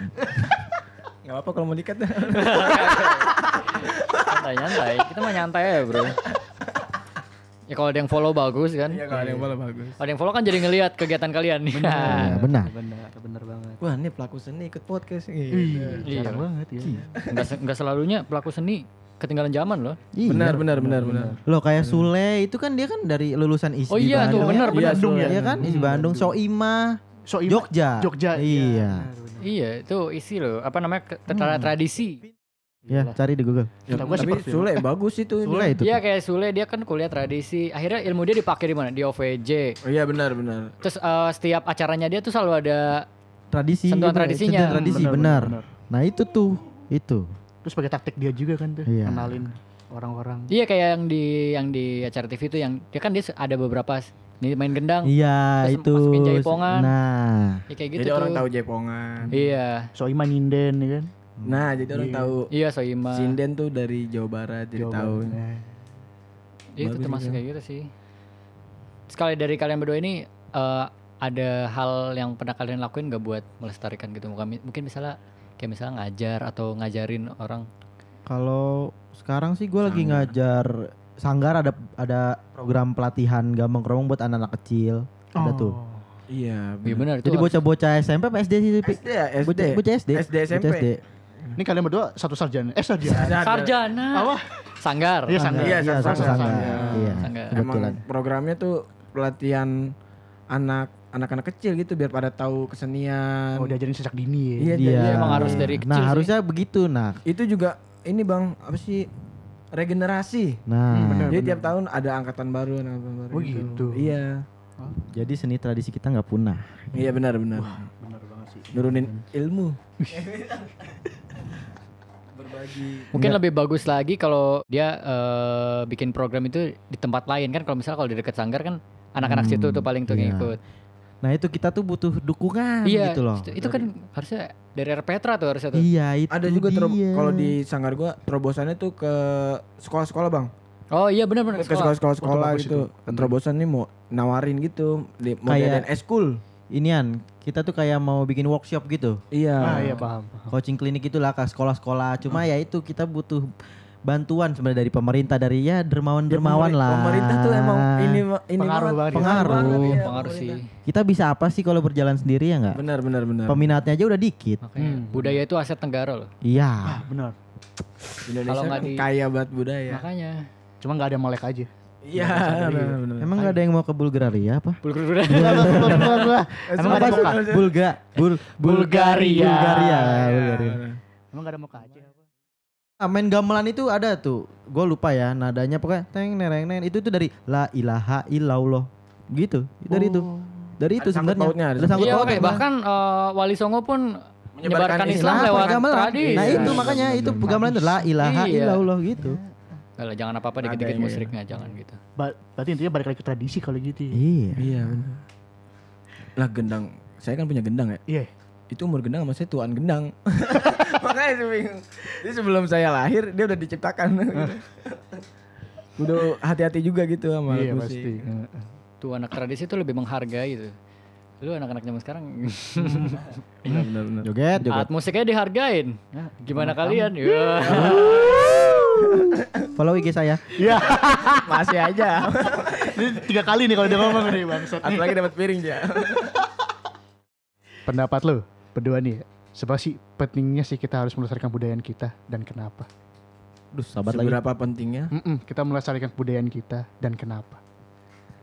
Speaker 3: Enggak apa-apa kalau mau dikat.
Speaker 2: Santai nyantai. Kita mah nyantai ya bro. Ya kalau ada yang follow bagus kan.
Speaker 3: Iya kalau ada yang boleh bagus.
Speaker 2: Kalau ada yang follow kan jadi ngelihat kegiatan kalian.
Speaker 4: Ya,
Speaker 2: Iya.
Speaker 4: benar.
Speaker 1: Benar, benar banget.
Speaker 3: Wah, ini pelaku seni ikut podcast
Speaker 1: Iya,
Speaker 3: gitu.
Speaker 1: jarang banget ya.
Speaker 2: Iya. Nggak se- nggak selalunya pelaku seni ketinggalan zaman loh.
Speaker 4: Iya.
Speaker 3: Benar benar benar benar.
Speaker 4: Loh kayak Sule itu kan dia kan dari lulusan ISBI
Speaker 2: Oh iya tuh
Speaker 4: Bandung.
Speaker 2: benar
Speaker 3: Iya,
Speaker 2: benar.
Speaker 1: Bandung ya.
Speaker 4: Iya kan ISBI Bandung, Soima,
Speaker 1: So, Ima-
Speaker 4: Jogja.
Speaker 1: Jogja.
Speaker 4: Iya.
Speaker 1: benar, benar.
Speaker 2: Iya itu isi loh. Apa namanya ke-
Speaker 3: Hmm.
Speaker 2: tra- tradisi.
Speaker 4: Ya, cari di Google.
Speaker 1: Kata gua
Speaker 3: tapi
Speaker 1: seperti
Speaker 3: Sule bagus itu.
Speaker 4: Sule itu.
Speaker 2: Iya kayak Sule dia kan kuliah tradisi. Akhirnya ilmu dia dipakai di mana? Di OVJ.
Speaker 3: Oh iya benar benar.
Speaker 2: Terus eh, setiap acaranya dia tuh selalu ada
Speaker 4: Tradisi.
Speaker 2: Sentuhan
Speaker 4: gitu ya,
Speaker 2: tradisinya.
Speaker 4: sentuhan tradisi
Speaker 1: Benar,
Speaker 4: benar.
Speaker 1: benar,
Speaker 4: Nah, itu tuh itu.
Speaker 1: Terus pakai taktik dia juga kan tuh,
Speaker 4: Iya.
Speaker 1: kenalin orang-orang.
Speaker 2: Iya kayak yang di yang di acara TV itu yang dia kan dia se- ada beberapa s- nih main gendang.
Speaker 4: Iya,
Speaker 2: Terus
Speaker 4: itu.
Speaker 2: masukin jaipongan.
Speaker 4: Nah.
Speaker 2: Ya kayak gitu
Speaker 3: Jadi
Speaker 2: tuh.
Speaker 3: orang tahu Jepongan.
Speaker 2: Iya.
Speaker 1: So, Ima nyinden ya kan.
Speaker 3: Nah, jadi orang
Speaker 1: Iya.
Speaker 3: tahu
Speaker 2: Iya Soima.
Speaker 3: Sinden tuh dari Jawa Barat jadi
Speaker 1: Jawa
Speaker 3: tahu.
Speaker 1: Barat. Nah,
Speaker 2: Iya, itu
Speaker 3: Bagus
Speaker 2: termasuk
Speaker 3: juga.
Speaker 2: kayak gitu sih. Sekali dari kalian berdua ini eh, ada hal yang pernah kalian lakuin gak buat melestarikan gitu? Mungkin mungkin misalnya kayak misalnya ngajar atau ngajarin orang.
Speaker 4: Kalau sekarang sih gue lagi ngajar sanggar ada ada program pelatihan gambang keromong buat anak-anak kecil
Speaker 1: Oh.
Speaker 4: ada tuh.
Speaker 3: Iya,
Speaker 2: Iya benar itu.
Speaker 4: Jadi
Speaker 2: harus-
Speaker 4: bocah-bocah SMP apa SD sih? Pi?
Speaker 3: SD ya, SD.
Speaker 4: Bocah, bocah SD.
Speaker 3: SD SMP.
Speaker 4: Bocah SD.
Speaker 1: Ini kalian berdua satu sarjana. Eh, sarjana.
Speaker 2: sarjana.
Speaker 1: Apa?
Speaker 2: Sanggar.
Speaker 1: Iya, sanggar.
Speaker 3: Iya,
Speaker 4: Iya,
Speaker 3: sanggar,
Speaker 4: sanggar. sanggar.
Speaker 3: sanggar.
Speaker 4: Iya,
Speaker 2: Sanggar.
Speaker 3: Emang
Speaker 4: kebetulan.
Speaker 3: programnya tuh pelatihan anak anak-anak kecil gitu biar pada tahu kesenian.
Speaker 1: Oh, diajarin sejak dini ya.
Speaker 3: Iya, iya,
Speaker 2: emang harus dari kecil
Speaker 4: Nah,
Speaker 2: sih.
Speaker 4: harusnya begitu. Nah,
Speaker 3: Itu juga ini Bang, apa sih regenerasi.
Speaker 4: Nah,
Speaker 2: Hmm,
Speaker 1: bener.
Speaker 3: Jadi tiap tahun ada angkatan baru, anak angkatan baru.
Speaker 1: Oh, gitu.
Speaker 3: Iya.
Speaker 4: jadi seni tradisi kita nggak punah.
Speaker 3: Iya benar benar.
Speaker 1: Bener banget sih.
Speaker 3: Nurunin ilmu. Berbagi.
Speaker 2: Mungkin lebih bagus lagi kalau dia eh, bikin program itu di tempat lain kan kalau misalnya kalau di dekat sanggar kan anak-anak
Speaker 4: Hmm,
Speaker 2: situ tuh paling tuh
Speaker 4: iya.
Speaker 2: yang ikut.
Speaker 4: Nah itu kita tuh butuh dukungan
Speaker 2: Iya,
Speaker 4: gitu loh.
Speaker 2: itu, itu kan harusnya dari Rpetra tuh harusnya tuh.
Speaker 4: Iya itu
Speaker 3: Ada juga terob-
Speaker 4: dia.
Speaker 3: kalau di sanggar gua terobosannya tuh ke sekolah-sekolah, Bang.
Speaker 2: Oh iya benar-benar.
Speaker 3: Ke sekolah-sekolah
Speaker 1: Itu
Speaker 3: sekolah
Speaker 1: bagus
Speaker 3: gitu. Terobosan nih mau nawarin gitu, di mau
Speaker 4: Kayak-
Speaker 3: diadain eskul.
Speaker 4: Inian kita tuh kayak mau bikin workshop gitu.
Speaker 3: Iya.
Speaker 1: Ah iya paham.
Speaker 4: Coaching klinik itulah ke sekolah-sekolah. Cuma
Speaker 2: Hmm.
Speaker 4: ya itu kita butuh bantuan sebenarnya dari pemerintah dari ya
Speaker 3: Ya,
Speaker 4: dermawan-dermawan
Speaker 3: pemeri-
Speaker 4: lah.
Speaker 3: Pemerintah tuh emang ini ini
Speaker 1: Pengaruh banget.
Speaker 4: Pengaruh.
Speaker 3: iya,
Speaker 2: pengaruh sih.
Speaker 3: pemerintah.
Speaker 4: Kita bisa apa sih kalau berjalan sendiri ya nggak?
Speaker 3: Iya. Benar benar benar.
Speaker 4: Peminatnya aja udah dikit.
Speaker 3: Ah,
Speaker 2: Makanya
Speaker 1: Hmm.
Speaker 2: budaya itu aset negara loh.
Speaker 4: Iya.
Speaker 1: Ah bener.
Speaker 3: Indonesia
Speaker 2: nggak
Speaker 3: kan
Speaker 2: di-
Speaker 3: kaya banget budaya.
Speaker 2: Makanya.
Speaker 1: Cuma nggak ada melek aja.
Speaker 3: Iya, benar benar.
Speaker 4: Emang nggak ada yang mau ke Bulgaria apa?
Speaker 2: Bulgaria.
Speaker 4: Iya.
Speaker 1: Emang nggak ada
Speaker 4: sih?
Speaker 1: moka.
Speaker 4: Bulga, Bul,
Speaker 2: Bulgaria.
Speaker 4: Bulgaria, Bulgaria.
Speaker 1: Emang nggak ada moka aja.
Speaker 4: Ah, main gamelan itu ada tuh. Gue lupa ya nadanya pokoknya teng nereng neng itu tuh dari la ilaha illallah. Gitu. Dari
Speaker 1: Oh.
Speaker 4: itu. Dari itu
Speaker 3: Ada sangkut
Speaker 4: sebenarnya.
Speaker 3: pautnya, ada
Speaker 4: Ada sangkut
Speaker 2: Iya,
Speaker 4: pautnya.
Speaker 3: ya.
Speaker 2: makanya. bahkan eh, Wali Songo pun menyebarkan,
Speaker 3: Menyebarkan
Speaker 2: Islam
Speaker 4: Nah,
Speaker 2: lewat
Speaker 4: gamelan.
Speaker 2: tradisi.
Speaker 4: Nah, itu
Speaker 3: Iya,
Speaker 4: makanya
Speaker 3: benar,
Speaker 4: itu
Speaker 3: benar.
Speaker 4: gamelan itu la ilaha
Speaker 2: Iya.
Speaker 4: illallah gitu.
Speaker 2: Nggak lah, jangan apa-apa dikit-dikit
Speaker 3: Ada, iya.
Speaker 2: musyriknya, jangan gitu.
Speaker 1: Ba- berarti intinya balik lagi ke tradisi kalau gitu. ya.
Speaker 4: Iya.
Speaker 3: Iya benar. Lah gendang, saya kan punya gendang ya.
Speaker 1: Iya.
Speaker 3: Itu umur gendang sama saya tuan gendang. Makanya saya bingung. Jadi sebelum saya lahir dia udah diciptakan. udah hati-hati juga gitu sama
Speaker 1: Iya
Speaker 3: musik.
Speaker 1: pasti.
Speaker 2: Tuh anak tradisi itu lebih menghargai itu. Lu anak-anak zaman sekarang
Speaker 3: Iya, Benar benar benar.
Speaker 4: Joget, joget.
Speaker 2: alat musiknya dihargain. Gimana kalian? Ya.
Speaker 4: Follow IG saya.
Speaker 1: Iya.
Speaker 3: Masih aja.
Speaker 1: Ini tiga kali nih kalau dia ngomong nih bangsat.
Speaker 3: Satu lagi dapat piring ya.
Speaker 1: Pendapat lo berdua nih. Sebab sih pentingnya sih kita harus melestarikan budaya kita dan kenapa?
Speaker 4: Duh, sahabat lagi.
Speaker 3: Seberapa pentingnya?
Speaker 1: Mm-mm, kita melestarikan kebudayaan kita dan kenapa?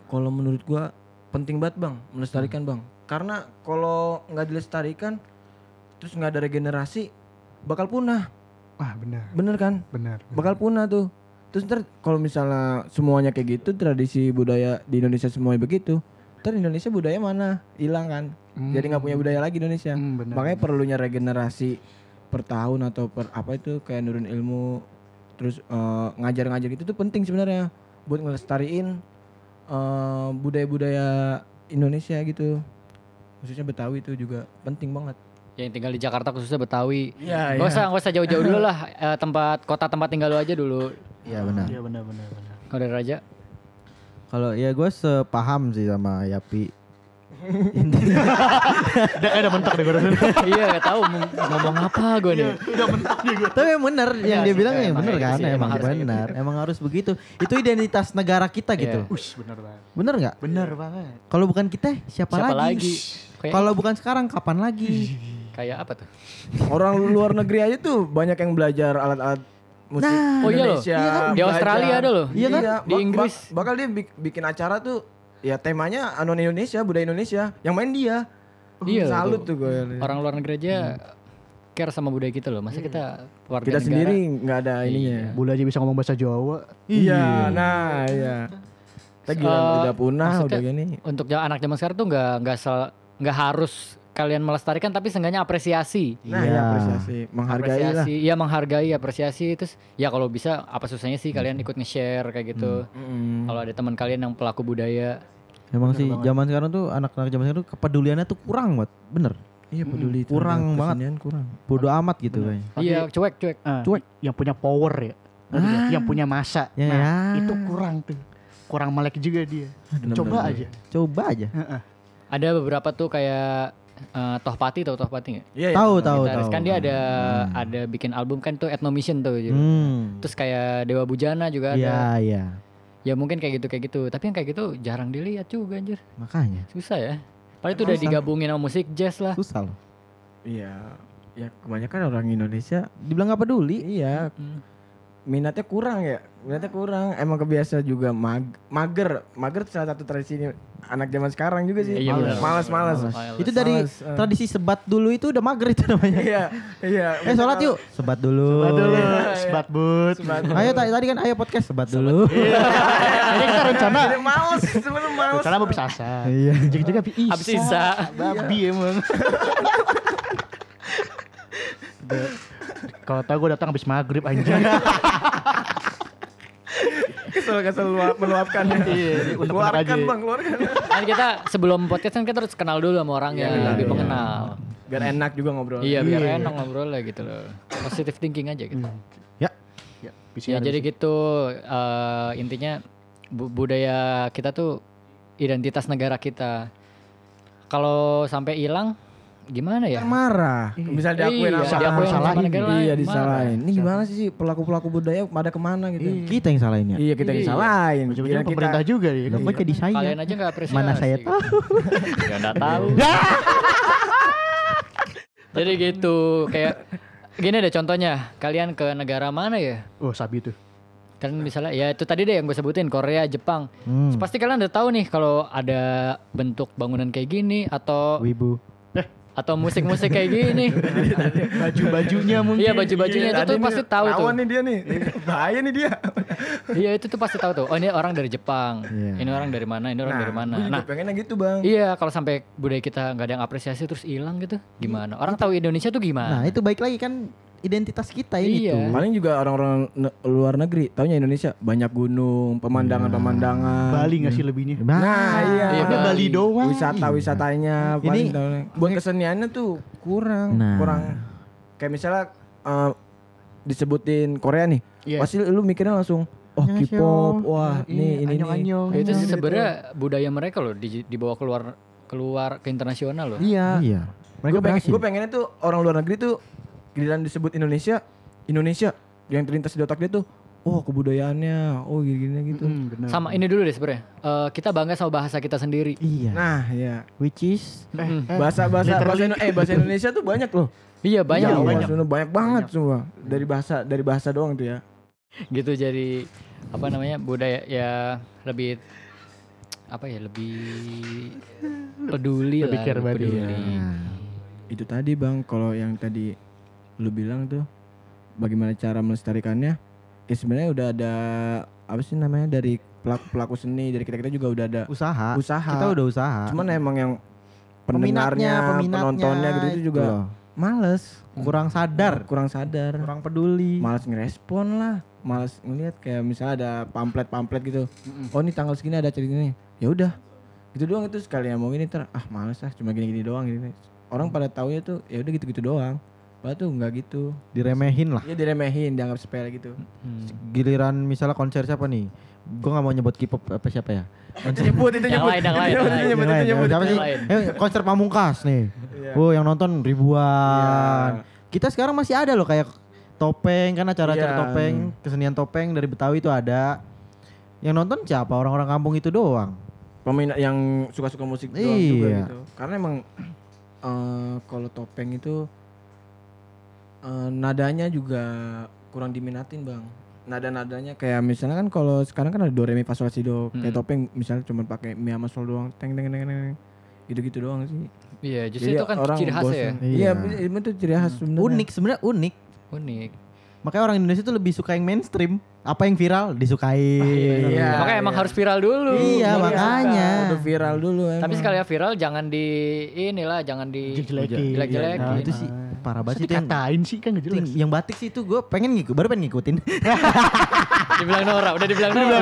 Speaker 3: kalau menurut gua penting banget bang melestarikan bang karena kalau nggak dilestarikan terus nggak ada regenerasi bakal punah
Speaker 1: Ah benar,
Speaker 3: bener kan
Speaker 1: benar.
Speaker 3: bakal punah tuh terus ntar kalau misalnya semuanya kayak gitu tradisi budaya di Indonesia semuanya begitu ntar Indonesia budaya mana hilang kan jadi nggak punya budaya lagi Indonesia
Speaker 1: Hmm, benar.
Speaker 3: makanya perlunya regenerasi per tahun atau per apa itu kayak nurun ilmu terus eh, ngajar-ngajar gitu tuh penting sebenarnya buat ngelestariin eh, budaya-budaya Indonesia gitu khususnya Betawi itu juga penting banget
Speaker 2: Ya, Yang tinggal di Jakarta khususnya Betawi.
Speaker 3: iya
Speaker 2: Gak usah, gak usah jauh-jauh dulu lah eh, tempat kota tempat tinggal lu aja dulu.
Speaker 4: Iya, benar.
Speaker 1: Iya benar benar benar.
Speaker 2: Kalau dari Raja,
Speaker 4: Kalau ya gue sepaham sih sama Yapi.
Speaker 1: Udah kayak udah mentok deh gue rasanya.
Speaker 2: iya gak tahu mau ngomong apa gue
Speaker 3: Iya.
Speaker 2: nih.
Speaker 1: Udah mentok nih gue.
Speaker 4: Tapi emang bener yang dia bilang yang
Speaker 2: emang
Speaker 4: bener
Speaker 2: iya
Speaker 4: kan
Speaker 2: sih, emang
Speaker 4: emang
Speaker 2: harus
Speaker 4: bener emang harus begitu itu identitas negara kita
Speaker 2: Iya.
Speaker 4: gitu loh.
Speaker 1: Ush benar banget.
Speaker 4: bener nggak
Speaker 1: Benar banget.
Speaker 4: kalau bukan kita siapa,
Speaker 2: Siapa
Speaker 4: lagi,
Speaker 2: lagi? Kayak,
Speaker 4: kalau bukan sekarang kapan lagi
Speaker 2: kayak apa tuh?
Speaker 3: orang luar negeri aja tuh banyak yang belajar alat-alat musik
Speaker 4: Nah,
Speaker 2: Oh iya loh.
Speaker 3: Indonesia
Speaker 2: Iya kan? Di Australia ada loh.
Speaker 3: iya kan
Speaker 2: Di Inggris.
Speaker 3: bakal dia bik- bikin acara tuh ya temanya anon Indonesia budaya Indonesia yang main dia
Speaker 2: Iya,
Speaker 3: salut tuh,
Speaker 2: tuh.
Speaker 3: gue
Speaker 2: Orang luar negeri aja care sama budaya kita loh. Masa kita warga
Speaker 3: kita
Speaker 2: negara- Iya.
Speaker 3: sendiri nggak ada ininya
Speaker 1: Bule aja bisa ngomong bahasa Jawa.
Speaker 3: Iya, nah iya. Kita gila
Speaker 2: Eh,
Speaker 3: udah punah udah
Speaker 2: maksudnya- Iya.
Speaker 3: gini.
Speaker 2: untuk ja- anak zaman sekarang tuh nggak nggak sel- nggak harus kalian melestarikan tapi seenggaknya apresiasi
Speaker 3: Nah,
Speaker 4: Iya.
Speaker 3: ya apresiasi, menghargai lah.
Speaker 2: apresiasi ya menghargai apresiasi terus ya kalau bisa apa susahnya sih kalian ikut nge-share kayak gitu
Speaker 3: Mm.
Speaker 2: kalau ada teman kalian yang pelaku budaya
Speaker 4: emang sih zaman sekarang tuh anak-anak zaman sekarang tuh kepeduliannya tuh kurang banget bener
Speaker 3: Iya peduli terhadap
Speaker 4: Kurang banget.
Speaker 3: kesenian, kurang.
Speaker 4: bodoh amat gitu kayaknya
Speaker 1: Tapi-
Speaker 2: iya cuek cuek
Speaker 1: Ah,
Speaker 4: Cuek.
Speaker 1: Yang punya power ya. Ngerti nggak? Yang punya masa.
Speaker 4: Ya,
Speaker 1: nah,
Speaker 4: ya.
Speaker 1: itu kurang tuh. Kurang melek juga dia. Coba aja.
Speaker 4: coba aja
Speaker 2: ada beberapa tuh kayak eh, Tohpati tau Tohpati nggak
Speaker 3: Iya, iya.
Speaker 4: tahu tahu
Speaker 2: Gitaris.
Speaker 4: tahu
Speaker 2: kan dia ada ada bikin album kan tuh Ethnomission tuh gitu.
Speaker 4: hmm
Speaker 2: terus kayak Dewa Bujana juga ada
Speaker 4: iya iya
Speaker 2: ya mungkin kayak gitu kayak gitu tapi yang kayak gitu jarang dilihat juga anjir
Speaker 4: makanya
Speaker 2: susah ya paling itu udah digabungin sama musik jazz lah
Speaker 4: susah loh
Speaker 3: Iya. Ya kebanyakan orang Indonesia
Speaker 4: dibilang nggak peduli
Speaker 3: iya
Speaker 2: Hmm.
Speaker 3: minatnya kurang ya minatnya kurang emang kebiasa juga mag mager mager salah satu tradisi ini anak zaman sekarang juga sih.
Speaker 2: Iya, benar.
Speaker 3: malas, malas.
Speaker 2: Malas.
Speaker 4: Itu dari
Speaker 3: Males, eh.
Speaker 4: tradisi sebat dulu itu udah mager itu namanya.
Speaker 3: Iya, iya.
Speaker 4: eh sholat yuk. Sebat dulu.
Speaker 1: Aduh, lu,
Speaker 3: Iya, iya.
Speaker 1: sebat but.
Speaker 3: Sebat.
Speaker 4: Ayo tadi tadi kan ayo podcast sebat dulu.
Speaker 1: Ini kita rencana.
Speaker 3: Jadi malas, Iya, sebenarnya malas.
Speaker 1: Rencana mau bisa asa.
Speaker 4: Iya.
Speaker 1: Jaga-jaga bisa.
Speaker 2: Habis isa.
Speaker 1: Babi emang. Udah. Kalau tau gue datang habis maghrib anjing.
Speaker 3: Kesel-kesel luap- meluapkan.
Speaker 1: Iya, unek-unek
Speaker 3: keluarkan
Speaker 1: aja.
Speaker 3: bang, keluarkan.
Speaker 2: Kan kita sebelum podcast kan kita harus kenal dulu sama orangnya
Speaker 3: Iya,
Speaker 2: lebih
Speaker 3: iya.
Speaker 2: mengenal.
Speaker 3: Biar enak juga ngobrol.
Speaker 2: Iya, biar enak ngobrol lah gitu loh. Positive thinking aja gitu.
Speaker 4: Ya.
Speaker 1: ya, bisa
Speaker 2: Ya, jadi gitu eh, intinya bu- budaya kita tuh identitas negara kita. Kalau sampai hilang gimana ya?
Speaker 3: Marah. Bisa diakuin
Speaker 2: Iya,
Speaker 3: apa?
Speaker 2: diakuin sama
Speaker 3: Disalahin.
Speaker 2: negara lain,
Speaker 3: Iya,
Speaker 2: marah.
Speaker 3: disalahin. Ini gimana sih pelaku-pelaku budaya pada kemana gitu?
Speaker 4: Kita yang ya. salahinnya.
Speaker 3: Iya, kita yang disalahin. Kira
Speaker 1: Ujung-ujungnya
Speaker 3: kita-
Speaker 1: pemerintah juga ya.
Speaker 4: Loh, kok jadi saya?
Speaker 2: Kalian aja nggak apresiasi.
Speaker 4: Mana saya
Speaker 2: gitu. ya nggak tahu. Jadi gitu kayak gini deh contohnya. Kalian ke negara mana ya?
Speaker 1: Oh, sabi tuh.
Speaker 2: Kalian misalnya ya itu tadi deh yang gue sebutin Korea, Jepang.
Speaker 4: Hmm.
Speaker 2: Pasti kalian udah tahu nih kalau ada bentuk bangunan kayak gini atau
Speaker 4: Wibu.
Speaker 2: atau musik-musik kayak gini.
Speaker 1: Baju-bajunya mungkin.
Speaker 2: Iya baju-bajunya
Speaker 3: Iya,
Speaker 2: itu tuh
Speaker 3: tadi
Speaker 2: pasti
Speaker 3: nih,
Speaker 2: tahu tuh.
Speaker 3: Rawan nih dia nih. Bahaya nih dia.
Speaker 2: Iya itu tuh pasti tahu tuh. Oh ini orang dari Jepang.
Speaker 4: Iya.
Speaker 2: Ini orang dari mana? Ini orang dari mana?
Speaker 3: Gue juga
Speaker 2: Nah
Speaker 3: pengennya gitu bang.
Speaker 2: Iya, kalau sampai budaya kita nggak ada yang apresiasi terus hilang gitu, gimana? Orang tahu Indonesia tuh
Speaker 4: Nah,
Speaker 2: gimana?
Speaker 4: itu baik lagi kan identitas kita ini
Speaker 2: Iya.
Speaker 4: tuh.
Speaker 3: Paling juga orang-orang ne- luar negeri, taunya Indonesia banyak gunung, pemandangan-pemandangan.
Speaker 1: Bali nggak sih lebihnya?
Speaker 4: Nah,
Speaker 3: Nah, iya.
Speaker 1: Ada
Speaker 2: Bali.
Speaker 1: Bali doang.
Speaker 3: Wisata-wisatanya paling
Speaker 4: Ini-
Speaker 3: tahu- buat keseniannya tuh kurang,
Speaker 4: Nah.
Speaker 3: kurang. Kayak misalnya eh, disebutin Korea nih,
Speaker 1: Iya.
Speaker 3: pasti lu mikirnya langsung oh
Speaker 4: Annyeonghaseyo.
Speaker 3: K-pop, wah
Speaker 1: Iya,
Speaker 3: nih ini nih.
Speaker 1: anyong-anyong.
Speaker 2: Ya, itu
Speaker 4: Iya.
Speaker 3: iya.
Speaker 2: sih sebenarnya budaya mereka loh di- dibawa keluar keluar ke internasional loh.
Speaker 3: Iya.
Speaker 4: Iya. Mereka
Speaker 3: Gue pengen,
Speaker 4: berhasil.
Speaker 3: gua pengennya tuh orang luar negeri tuh giliran disebut Indonesia, Indonesia yang terlintas di otak dia tuh, oh kebudayaannya, oh gini-gini gitu.
Speaker 1: Hmm, benar.
Speaker 2: Sama ini dulu deh sebenarnya. Eh, kita bangga sama bahasa kita sendiri. Hmm.
Speaker 4: Iya. Eh,
Speaker 3: Nah, ya.
Speaker 4: Which is
Speaker 3: Bahasa bahasa bahasa, Indo- eh, bahasa Indonesia tuh banyak loh.
Speaker 2: Iya banyak
Speaker 3: Iya,
Speaker 2: loh.
Speaker 3: banyak. Banyak, banget semua. Dari bahasa dari bahasa doang tuh ya.
Speaker 2: Gitu jadi apa namanya budaya ya lebih apa ya lebih peduli
Speaker 1: Lebih
Speaker 2: lah,
Speaker 1: care body.
Speaker 3: ya. Itu tadi Bang, kalau yang tadi lu bilang tuh bagaimana cara melestarikannya? Ya sebenarnya udah ada apa sih namanya dari pelaku-pelaku seni, dari kita-kita juga udah ada
Speaker 4: usaha.
Speaker 3: usaha.
Speaker 4: Kita udah usaha.
Speaker 3: Cuman emang yang
Speaker 4: Peminatnya,
Speaker 3: pendengarnya,
Speaker 4: peminatnya,
Speaker 3: penontonnya gitu itu juga
Speaker 4: loh.
Speaker 3: males,
Speaker 4: kurang sadar,
Speaker 3: kurang sadar,
Speaker 4: kurang peduli.
Speaker 3: males ngerespon lah, males ngeliat kayak misalnya ada pamflet-pamflet gitu. Oh ini tanggal segini ada acara ini. Ya udah. Gitu doang itu sekali yang mau ini ter ah males lah cuma gini-gini doang gitu. Orang pada taunya tuh ya udah gitu-gitu doang. Padahal tuh nggak gitu.
Speaker 4: diremehin lah.
Speaker 3: Ya diremehin, dianggap sepele gitu.
Speaker 4: Giliran misalnya konser siapa nih? Gue nggak mau nyebut K-pop apa siapa ya? Konser
Speaker 3: Nyebut itu
Speaker 2: Yang lain, yang lain, yang lain.
Speaker 4: Yang lain, siapa sih?
Speaker 2: Lain.
Speaker 4: Eh, konser pamungkas nih.
Speaker 3: Iya.
Speaker 4: Oh, yang nonton ribuan. Kita sekarang masih ada loh kayak topeng kan acara-acara
Speaker 3: Iya.
Speaker 4: topeng, kesenian topeng dari Betawi itu ada. Yang nonton siapa? Orang-orang kampung itu doang.
Speaker 3: Peminat yang suka-suka musik doang juga
Speaker 4: Iya.
Speaker 3: gitu. Karena emang eh, kalau topeng itu eh, nadanya juga kurang diminatin, Bang. Nada-nadanya kayak misalnya kan kalau sekarang kan ada do re mi fa sol la si do.
Speaker 2: Hmm.
Speaker 3: Kayak topeng misalnya cuma pakai mi sama sol doang, teng teng teng teng. teng. Gitu-gitu doang sih.
Speaker 2: Iya, justru itu kan ciri khas ya. Hmm.
Speaker 3: bosen. Iya,
Speaker 4: Iya.
Speaker 3: itu ciri khas sebenarnya.
Speaker 4: Unik sebenarnya unik.
Speaker 2: Unik.
Speaker 4: Makanya orang Indonesia tuh lebih suka yang mainstream. Apa yang viral disukai.
Speaker 3: Iya,
Speaker 2: Makanya emang
Speaker 3: iya.
Speaker 2: harus viral dulu.
Speaker 4: Iya,
Speaker 2: Baru
Speaker 4: makanya.
Speaker 2: suka.
Speaker 3: Udah viral dulu emang.
Speaker 2: Tapi sekali ya viral jangan di inilah jangan di
Speaker 1: Jelek-jelekin.
Speaker 2: jelek-jelekin.
Speaker 4: Nah, itu
Speaker 3: Iya.
Speaker 2: Itu
Speaker 4: sih parah
Speaker 1: Masa
Speaker 4: banget sih itu yang,
Speaker 1: dikatain sih kan nggak
Speaker 4: itu
Speaker 1: jelas.
Speaker 4: yang- yang batik sih itu gue pengen ngikut baru pengen ngikutin.
Speaker 2: dibilang Nora, udah dibilang Nora.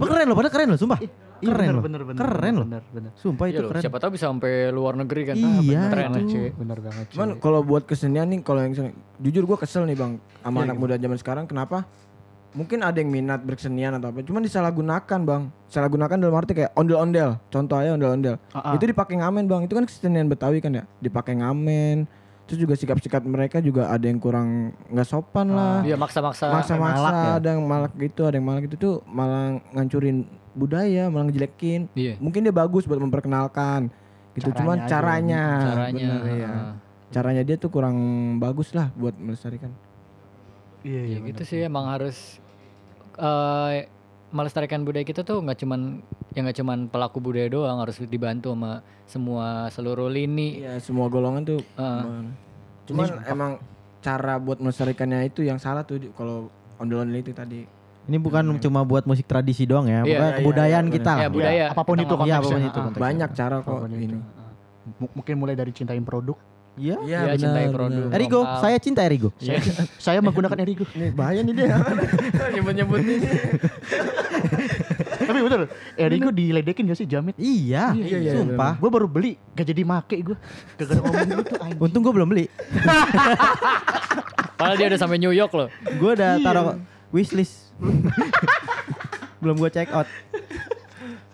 Speaker 4: Wah, keren loh, padahal keren loh, sumpah.
Speaker 1: Iya,
Speaker 4: Keren
Speaker 1: bener,
Speaker 4: loh.
Speaker 1: bener, bener,
Speaker 4: Keren loh.
Speaker 1: Bener, bener.
Speaker 4: Sumpah
Speaker 2: Iya
Speaker 4: itu
Speaker 2: loh,
Speaker 4: keren.
Speaker 2: siapa tahu bisa sampai luar negeri kan.
Speaker 4: Iya,
Speaker 2: Keren
Speaker 1: Bener,
Speaker 2: lah.
Speaker 1: Ci. bener banget. Ci.
Speaker 3: Cuman kalau buat kesenian nih kalau yang seni- jujur gua kesel nih Bang sama anak muda zaman sekarang kenapa? Mungkin ada yang minat berkesenian atau apa, cuman disalahgunakan Bang. Disalahgunakan dalam arti kayak ondel-ondel. Contoh aja ondel-ondel.
Speaker 1: Ah, ah.
Speaker 3: Itu dipakai ngamen Bang. Itu kan kesenian Betawi kan ya. Dipakai ngamen. Terus juga sikap-sikap mereka juga ada yang kurang nggak sopan lah.
Speaker 2: Iya maksa-maksa.
Speaker 3: Maksa-maksa
Speaker 4: malak ya.
Speaker 3: ada yang malak gitu, ada yang malak gitu tuh malah ngancurin budaya, malah ngejelekin.
Speaker 2: Iya.
Speaker 3: Mungkin dia bagus buat memperkenalkan gitu,
Speaker 1: Caranya
Speaker 3: cuman
Speaker 1: aja.
Speaker 3: caranya
Speaker 2: Caranya. Ah,
Speaker 3: bener, iya
Speaker 2: heeh.
Speaker 3: caranya dia tuh kurang bagus lah buat melestarikan.
Speaker 1: Iya,
Speaker 2: Ya
Speaker 1: iya.
Speaker 2: gitu sih emang harus eh melestarikan budaya kita tuh nggak cuman yang nggak cuman pelaku budaya doang harus dibantu sama semua seluruh lini.
Speaker 3: Iya, semua golongan tuh.
Speaker 2: Eh,
Speaker 3: emang. Cuman emang cara buat melestarikannya itu yang salah tuh di- kalau ondel-ondel itu tadi.
Speaker 4: Ini bukan cuma buat musik tradisi doang
Speaker 2: Iya,
Speaker 4: ya, pokoknya
Speaker 3: iya,
Speaker 4: kebudayaan
Speaker 3: iya,
Speaker 4: kita
Speaker 2: ya
Speaker 4: lah.
Speaker 2: budaya.
Speaker 1: apapun
Speaker 2: kita
Speaker 1: itu
Speaker 2: ngomong-
Speaker 4: Nah, Iya,
Speaker 1: konteksnya.
Speaker 4: apapun itu
Speaker 1: ah,
Speaker 4: konteksnya.
Speaker 3: Banyak cara kok
Speaker 1: apapun itu.
Speaker 3: ini.
Speaker 1: Ah. M- mungkin mulai dari cintain produk.
Speaker 4: Iya.
Speaker 3: Iya,
Speaker 2: Iya, cintai produk.
Speaker 3: benar.
Speaker 4: Erigo,
Speaker 2: Lokal.
Speaker 4: saya cinta Erigo.
Speaker 1: Saya, saya menggunakan Erigo.
Speaker 3: Ini bahaya nih dia. Nyebut-nyebut ini.
Speaker 1: Tapi betul, Erigo diledekin gak sih Jamit?
Speaker 4: Iya,
Speaker 3: Iya, iya,
Speaker 4: sumpah.
Speaker 1: Gue baru beli, gak jadi make gue. Gara-gara ngomong gitu anjing.
Speaker 4: Untung gue belum beli.
Speaker 2: Padahal dia udah sampai New York loh.
Speaker 4: Gue udah taruh wishlist. belum gue check out.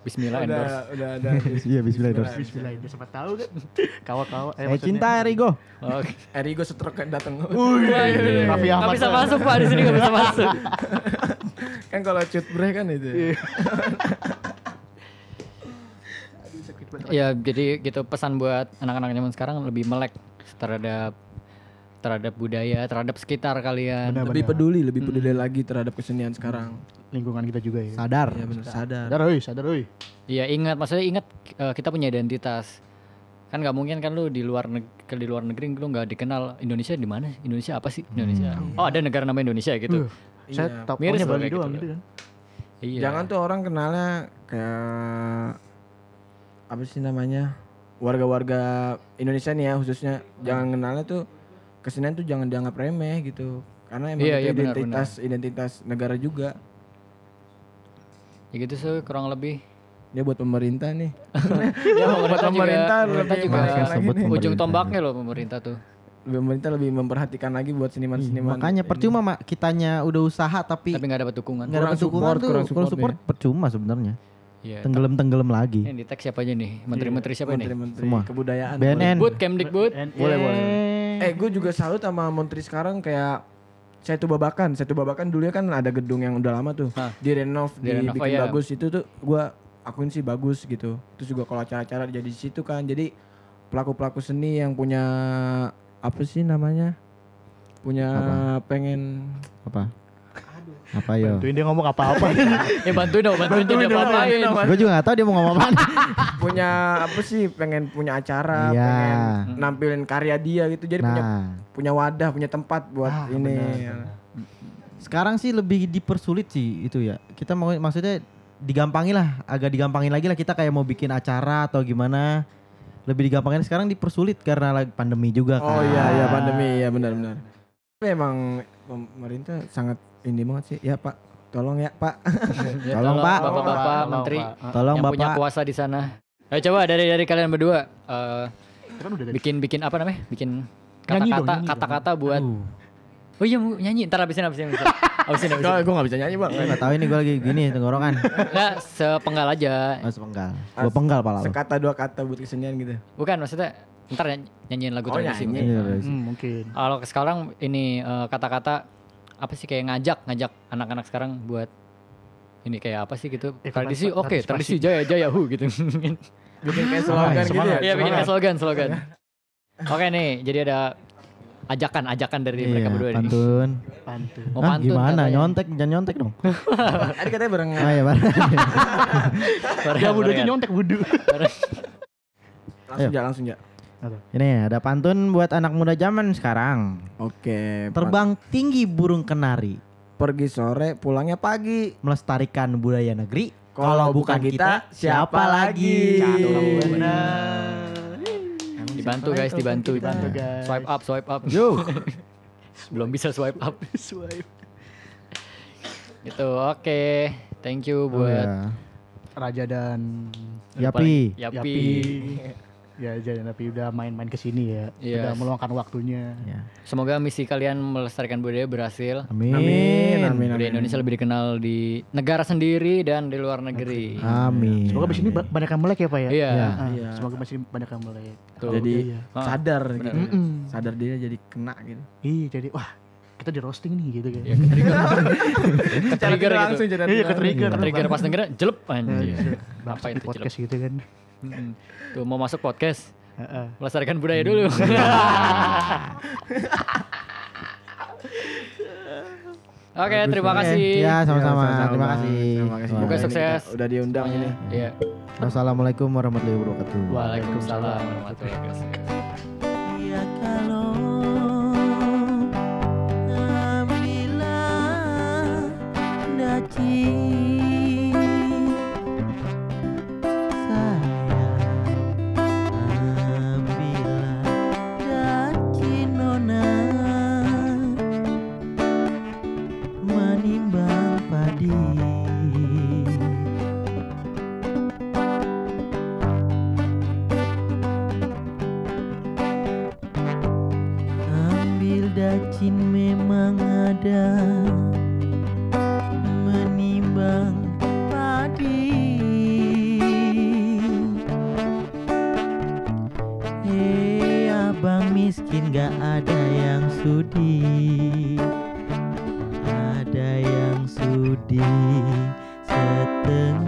Speaker 2: Bismillah
Speaker 3: Udah,
Speaker 2: endorse.
Speaker 3: udah ada.
Speaker 4: Iya, bismillah, endorse.
Speaker 1: Bismillah, udah sempat tahu kan? Kawa-kawa.
Speaker 4: saya cinta Erigo.
Speaker 2: Oke.
Speaker 3: Erigo setruk kan datang.
Speaker 1: Raffi
Speaker 2: Gak
Speaker 1: Ahmad
Speaker 2: bisa
Speaker 1: tuh.
Speaker 2: masuk pak di sini gak bisa masuk.
Speaker 3: kan kalau cut break kan itu.
Speaker 2: Ya jadi gitu pesan buat anak-anak zaman sekarang lebih melek terhadap terhadap budaya, terhadap sekitar kalian.
Speaker 1: Benar.
Speaker 3: Lebih peduli, lebih peduli lagi terhadap kesenian sekarang.
Speaker 1: Lingkungan kita juga ya.
Speaker 4: Sadar.
Speaker 3: Iya benar sadar.
Speaker 1: Sadar oi, sadar oi.
Speaker 2: Iya ingat, maksudnya ingat eh, kita punya identitas. Kan nggak mungkin kan lu di luar neg- ke di luar negeri lu nggak dikenal Indonesia di mana? sih? Indonesia apa sih? Indonesia.
Speaker 3: Hmm.
Speaker 2: Oh ada negara nama Indonesia gitu.
Speaker 1: Uh, Saya
Speaker 3: Iya.
Speaker 1: tahu
Speaker 2: Miris
Speaker 1: punya
Speaker 2: loh
Speaker 1: Bali
Speaker 2: kayak gitu
Speaker 1: doang
Speaker 2: loh.
Speaker 1: gitu kan.
Speaker 2: Iya.
Speaker 3: Jangan tuh orang kenalnya kayak apa sih namanya warga-warga Indonesia nih ya khususnya jangan kenalnya tuh kesenian tuh jangan dianggap remeh gitu karena emang
Speaker 2: Iya,
Speaker 3: itu
Speaker 2: iya, benar,
Speaker 3: identitas identitas negara juga
Speaker 2: Ya gitu sih kurang lebih.
Speaker 3: dia buat pemerintah nih
Speaker 2: Ya,
Speaker 3: buat pemerintah
Speaker 2: pemerintah
Speaker 3: lebih
Speaker 2: juga
Speaker 3: perhatikan lagi
Speaker 4: sebut
Speaker 3: nih.
Speaker 4: pemerintah.
Speaker 2: ujung tombaknya loh pemerintah tuh.
Speaker 3: pemerintah lebih memperhatikan lagi buat seniman-seniman
Speaker 4: Makanya percuma mak kitanya udah usaha tapi
Speaker 2: Tapi nggak dapat dukungan.
Speaker 4: nggak
Speaker 3: Kurang
Speaker 4: dapat dukungan
Speaker 3: support,
Speaker 4: tuh.
Speaker 3: kurang
Speaker 4: Kurang support
Speaker 3: supportnya.
Speaker 4: percuma sebenarnya.
Speaker 2: Iya.
Speaker 4: Tenggelam tenggelam lagi.
Speaker 2: Ini di tag siapa aja nih? Menteri-menteri
Speaker 3: Iya.
Speaker 2: siapa nih?
Speaker 3: menteri-menteri
Speaker 4: Semua.
Speaker 3: kebudayaan
Speaker 4: BNN.
Speaker 2: Bud, Kemdikbud.
Speaker 3: boleh boleh eh gue juga salut sama menteri sekarang kayak saya tuh babakan, saya tuh babakan dulu ya kan ada gedung yang udah lama tuh
Speaker 2: Hah.
Speaker 3: direnov,
Speaker 2: Direnov, oh
Speaker 3: dibikin
Speaker 2: iya.
Speaker 3: bagus itu tuh gue akuin sih bagus gitu. Terus juga kalau acara-acara jadi di situ kan, jadi pelaku-pelaku seni yang punya apa sih namanya, punya pengen
Speaker 4: Apa? Apa yo?
Speaker 1: Bantuin dia ngomong apa-apa.
Speaker 2: Ya bantuin dong, bantuin tuh dia ngapain.
Speaker 4: Gue juga gak tau dia mau ngomong apa.
Speaker 3: punya apa sih, pengen punya acara,
Speaker 4: Iya.
Speaker 3: pengen nampilin karya dia gitu. Jadi punya
Speaker 4: Nah,
Speaker 3: punya wadah, punya tempat buat
Speaker 1: Ah,
Speaker 3: ini.
Speaker 4: sekarang sih lebih dipersulit sih itu ya. Kita mau maksudnya digampangin lah, agak digampangin lagi lah kita kayak mau bikin acara atau gimana. Lebih digampangin sekarang dipersulit karena lagi pandemi juga kan.
Speaker 3: Oh iya iya pandemi ya benar-benar. Tapi emang pemerintah sangat ini banget sih. Ya Pak, tolong ya Pak.
Speaker 2: Ya,
Speaker 4: Tolong, Pak.
Speaker 2: Bapak-bapak, menteri
Speaker 4: Tolong
Speaker 2: yang punya
Speaker 4: Bapak.
Speaker 2: kuasa di sana. Ayo coba dari dari kalian berdua eh,
Speaker 1: Kan udah dari
Speaker 2: bikin bikin apa namanya? Bikin
Speaker 1: Nyanyi
Speaker 2: kata-kata
Speaker 1: dong, nyanyi dong.
Speaker 2: kata-kata buat
Speaker 4: Aduh,
Speaker 2: Oh iya mau nyanyi, ntar habisin habisin habisin. Habisin habisin.
Speaker 3: Enggak, gue gak bisa nyanyi Bang.
Speaker 4: gua nggak tahu ini gue lagi gini tenggorokan.
Speaker 2: Enggak sepenggal aja.
Speaker 4: Mas penggal. Gua penggal pala lu.
Speaker 3: Sekata dua kata buat kesenian gitu.
Speaker 2: Bukan maksudnya ntar nyanyi- nyanyiin lagu
Speaker 3: Oh,
Speaker 2: tradisi.
Speaker 3: nyanyi.
Speaker 2: mungkin.
Speaker 4: Iya, guys.
Speaker 1: Hmm, mungkin.
Speaker 2: Kalau sekarang ini eh, kata-kata apa sih kayak ngajak ngajak anak-anak sekarang buat ini kayak apa sih gitu
Speaker 1: Eh,
Speaker 2: tradisi
Speaker 1: partisipa-
Speaker 2: oke tradisi jaya jaya hu gitu
Speaker 3: Bikin kayak slogan gitu ya.
Speaker 2: Iya bikin
Speaker 3: Semangat.
Speaker 2: slogan slogan. Oke nih, jadi ada ajakan ajakan dari mereka
Speaker 4: Iya,
Speaker 2: berdua nih.
Speaker 4: pantun.
Speaker 1: Pantun.
Speaker 2: Mau
Speaker 4: Hah,
Speaker 2: pantun
Speaker 4: gimana?
Speaker 2: katanya.
Speaker 4: Nyontek, jangan nyontek dong.
Speaker 3: Tadi katanya bareng
Speaker 4: Ah, ya, bareng.
Speaker 2: Barengan,
Speaker 1: Ya budu tuh
Speaker 2: barengan.
Speaker 1: nyontek budu.
Speaker 2: Barengan.
Speaker 3: langsung ya langsung ya.
Speaker 4: Ini ada pantun buat anak muda zaman sekarang.
Speaker 3: Oke. Pak.
Speaker 4: Terbang tinggi burung kenari,
Speaker 3: pergi sore, pulangnya pagi.
Speaker 4: melestarikan budaya negeri.
Speaker 3: Kalau bukan kita, siapa lagi?
Speaker 4: Cakep.
Speaker 2: Dibantu guys, dibantu, dibantu.
Speaker 1: Dibantu guys.
Speaker 2: Swipe up, swipe up. Belum bisa swipe up.
Speaker 1: Swipe.
Speaker 2: Gitu. Oke. Thank you
Speaker 4: Oh,
Speaker 2: buat
Speaker 4: ya.
Speaker 1: Raja dan
Speaker 4: Yapi.
Speaker 2: Yapi.
Speaker 1: Ya jadi tapi udah main-main ke sini ya.
Speaker 2: Yes.
Speaker 1: Udah meluangkan waktunya.
Speaker 3: Iya.
Speaker 4: Ya.
Speaker 2: Semoga misi kalian melestarikan budaya berhasil.
Speaker 4: Amin.
Speaker 3: Amin, amin,
Speaker 2: Budaya
Speaker 3: amin.
Speaker 2: Indonesia lebih dikenal di negara sendiri dan di luar negeri.
Speaker 4: Amin.
Speaker 1: Semoga di sini ba- banyak yang melek ya, Pak ya.
Speaker 2: Iya.
Speaker 1: Ah,
Speaker 3: Iya.
Speaker 1: Semoga masih banyak yang melek.
Speaker 2: Tuh.
Speaker 3: Jadi
Speaker 1: Iya.
Speaker 2: Ah,
Speaker 3: sadar gitu.
Speaker 1: Mm-mm.
Speaker 3: Sadar dia jadi kena gitu.
Speaker 1: Iya, jadi wah, kita di roasting nih gitu kan.
Speaker 2: Ya, ketrigger. Ketrigger
Speaker 3: Secara
Speaker 2: gitu.
Speaker 3: langsung jadi
Speaker 1: Iya, ketrigger.
Speaker 2: Ketrigger pas dengerin jelep anjir. Apa
Speaker 1: Bangsat di
Speaker 2: itu jelep?
Speaker 1: podcast gitu kan.
Speaker 2: Mm-mm. Tuh mau masuk podcast,
Speaker 1: Heeh.
Speaker 2: melestarikan budaya dulu. Oke,
Speaker 3: Mm.
Speaker 2: Oke,
Speaker 3: Bagus,
Speaker 2: terima
Speaker 3: bagus.
Speaker 2: kasih.
Speaker 6: Ya, sama-sama.
Speaker 3: Iya,
Speaker 6: Terima kasih.
Speaker 3: Terima kasih.
Speaker 2: Semoga
Speaker 3: Ini kita
Speaker 2: sukses.
Speaker 3: Udah diundang ini.
Speaker 2: Semuanya. Iya.
Speaker 6: Wassalamualaikum warahmatullahi wabarakatuh.
Speaker 2: Waalaikumsalam warahmatullahi wabarakatuh.
Speaker 4: Ya kalau Amila Daci Saya Amila Daci Nona Menimbang padi Ambil dacin memang ada Menimbang padi Hei Eh, abang miskin gak ada yang sudi Ada yang sudi setengah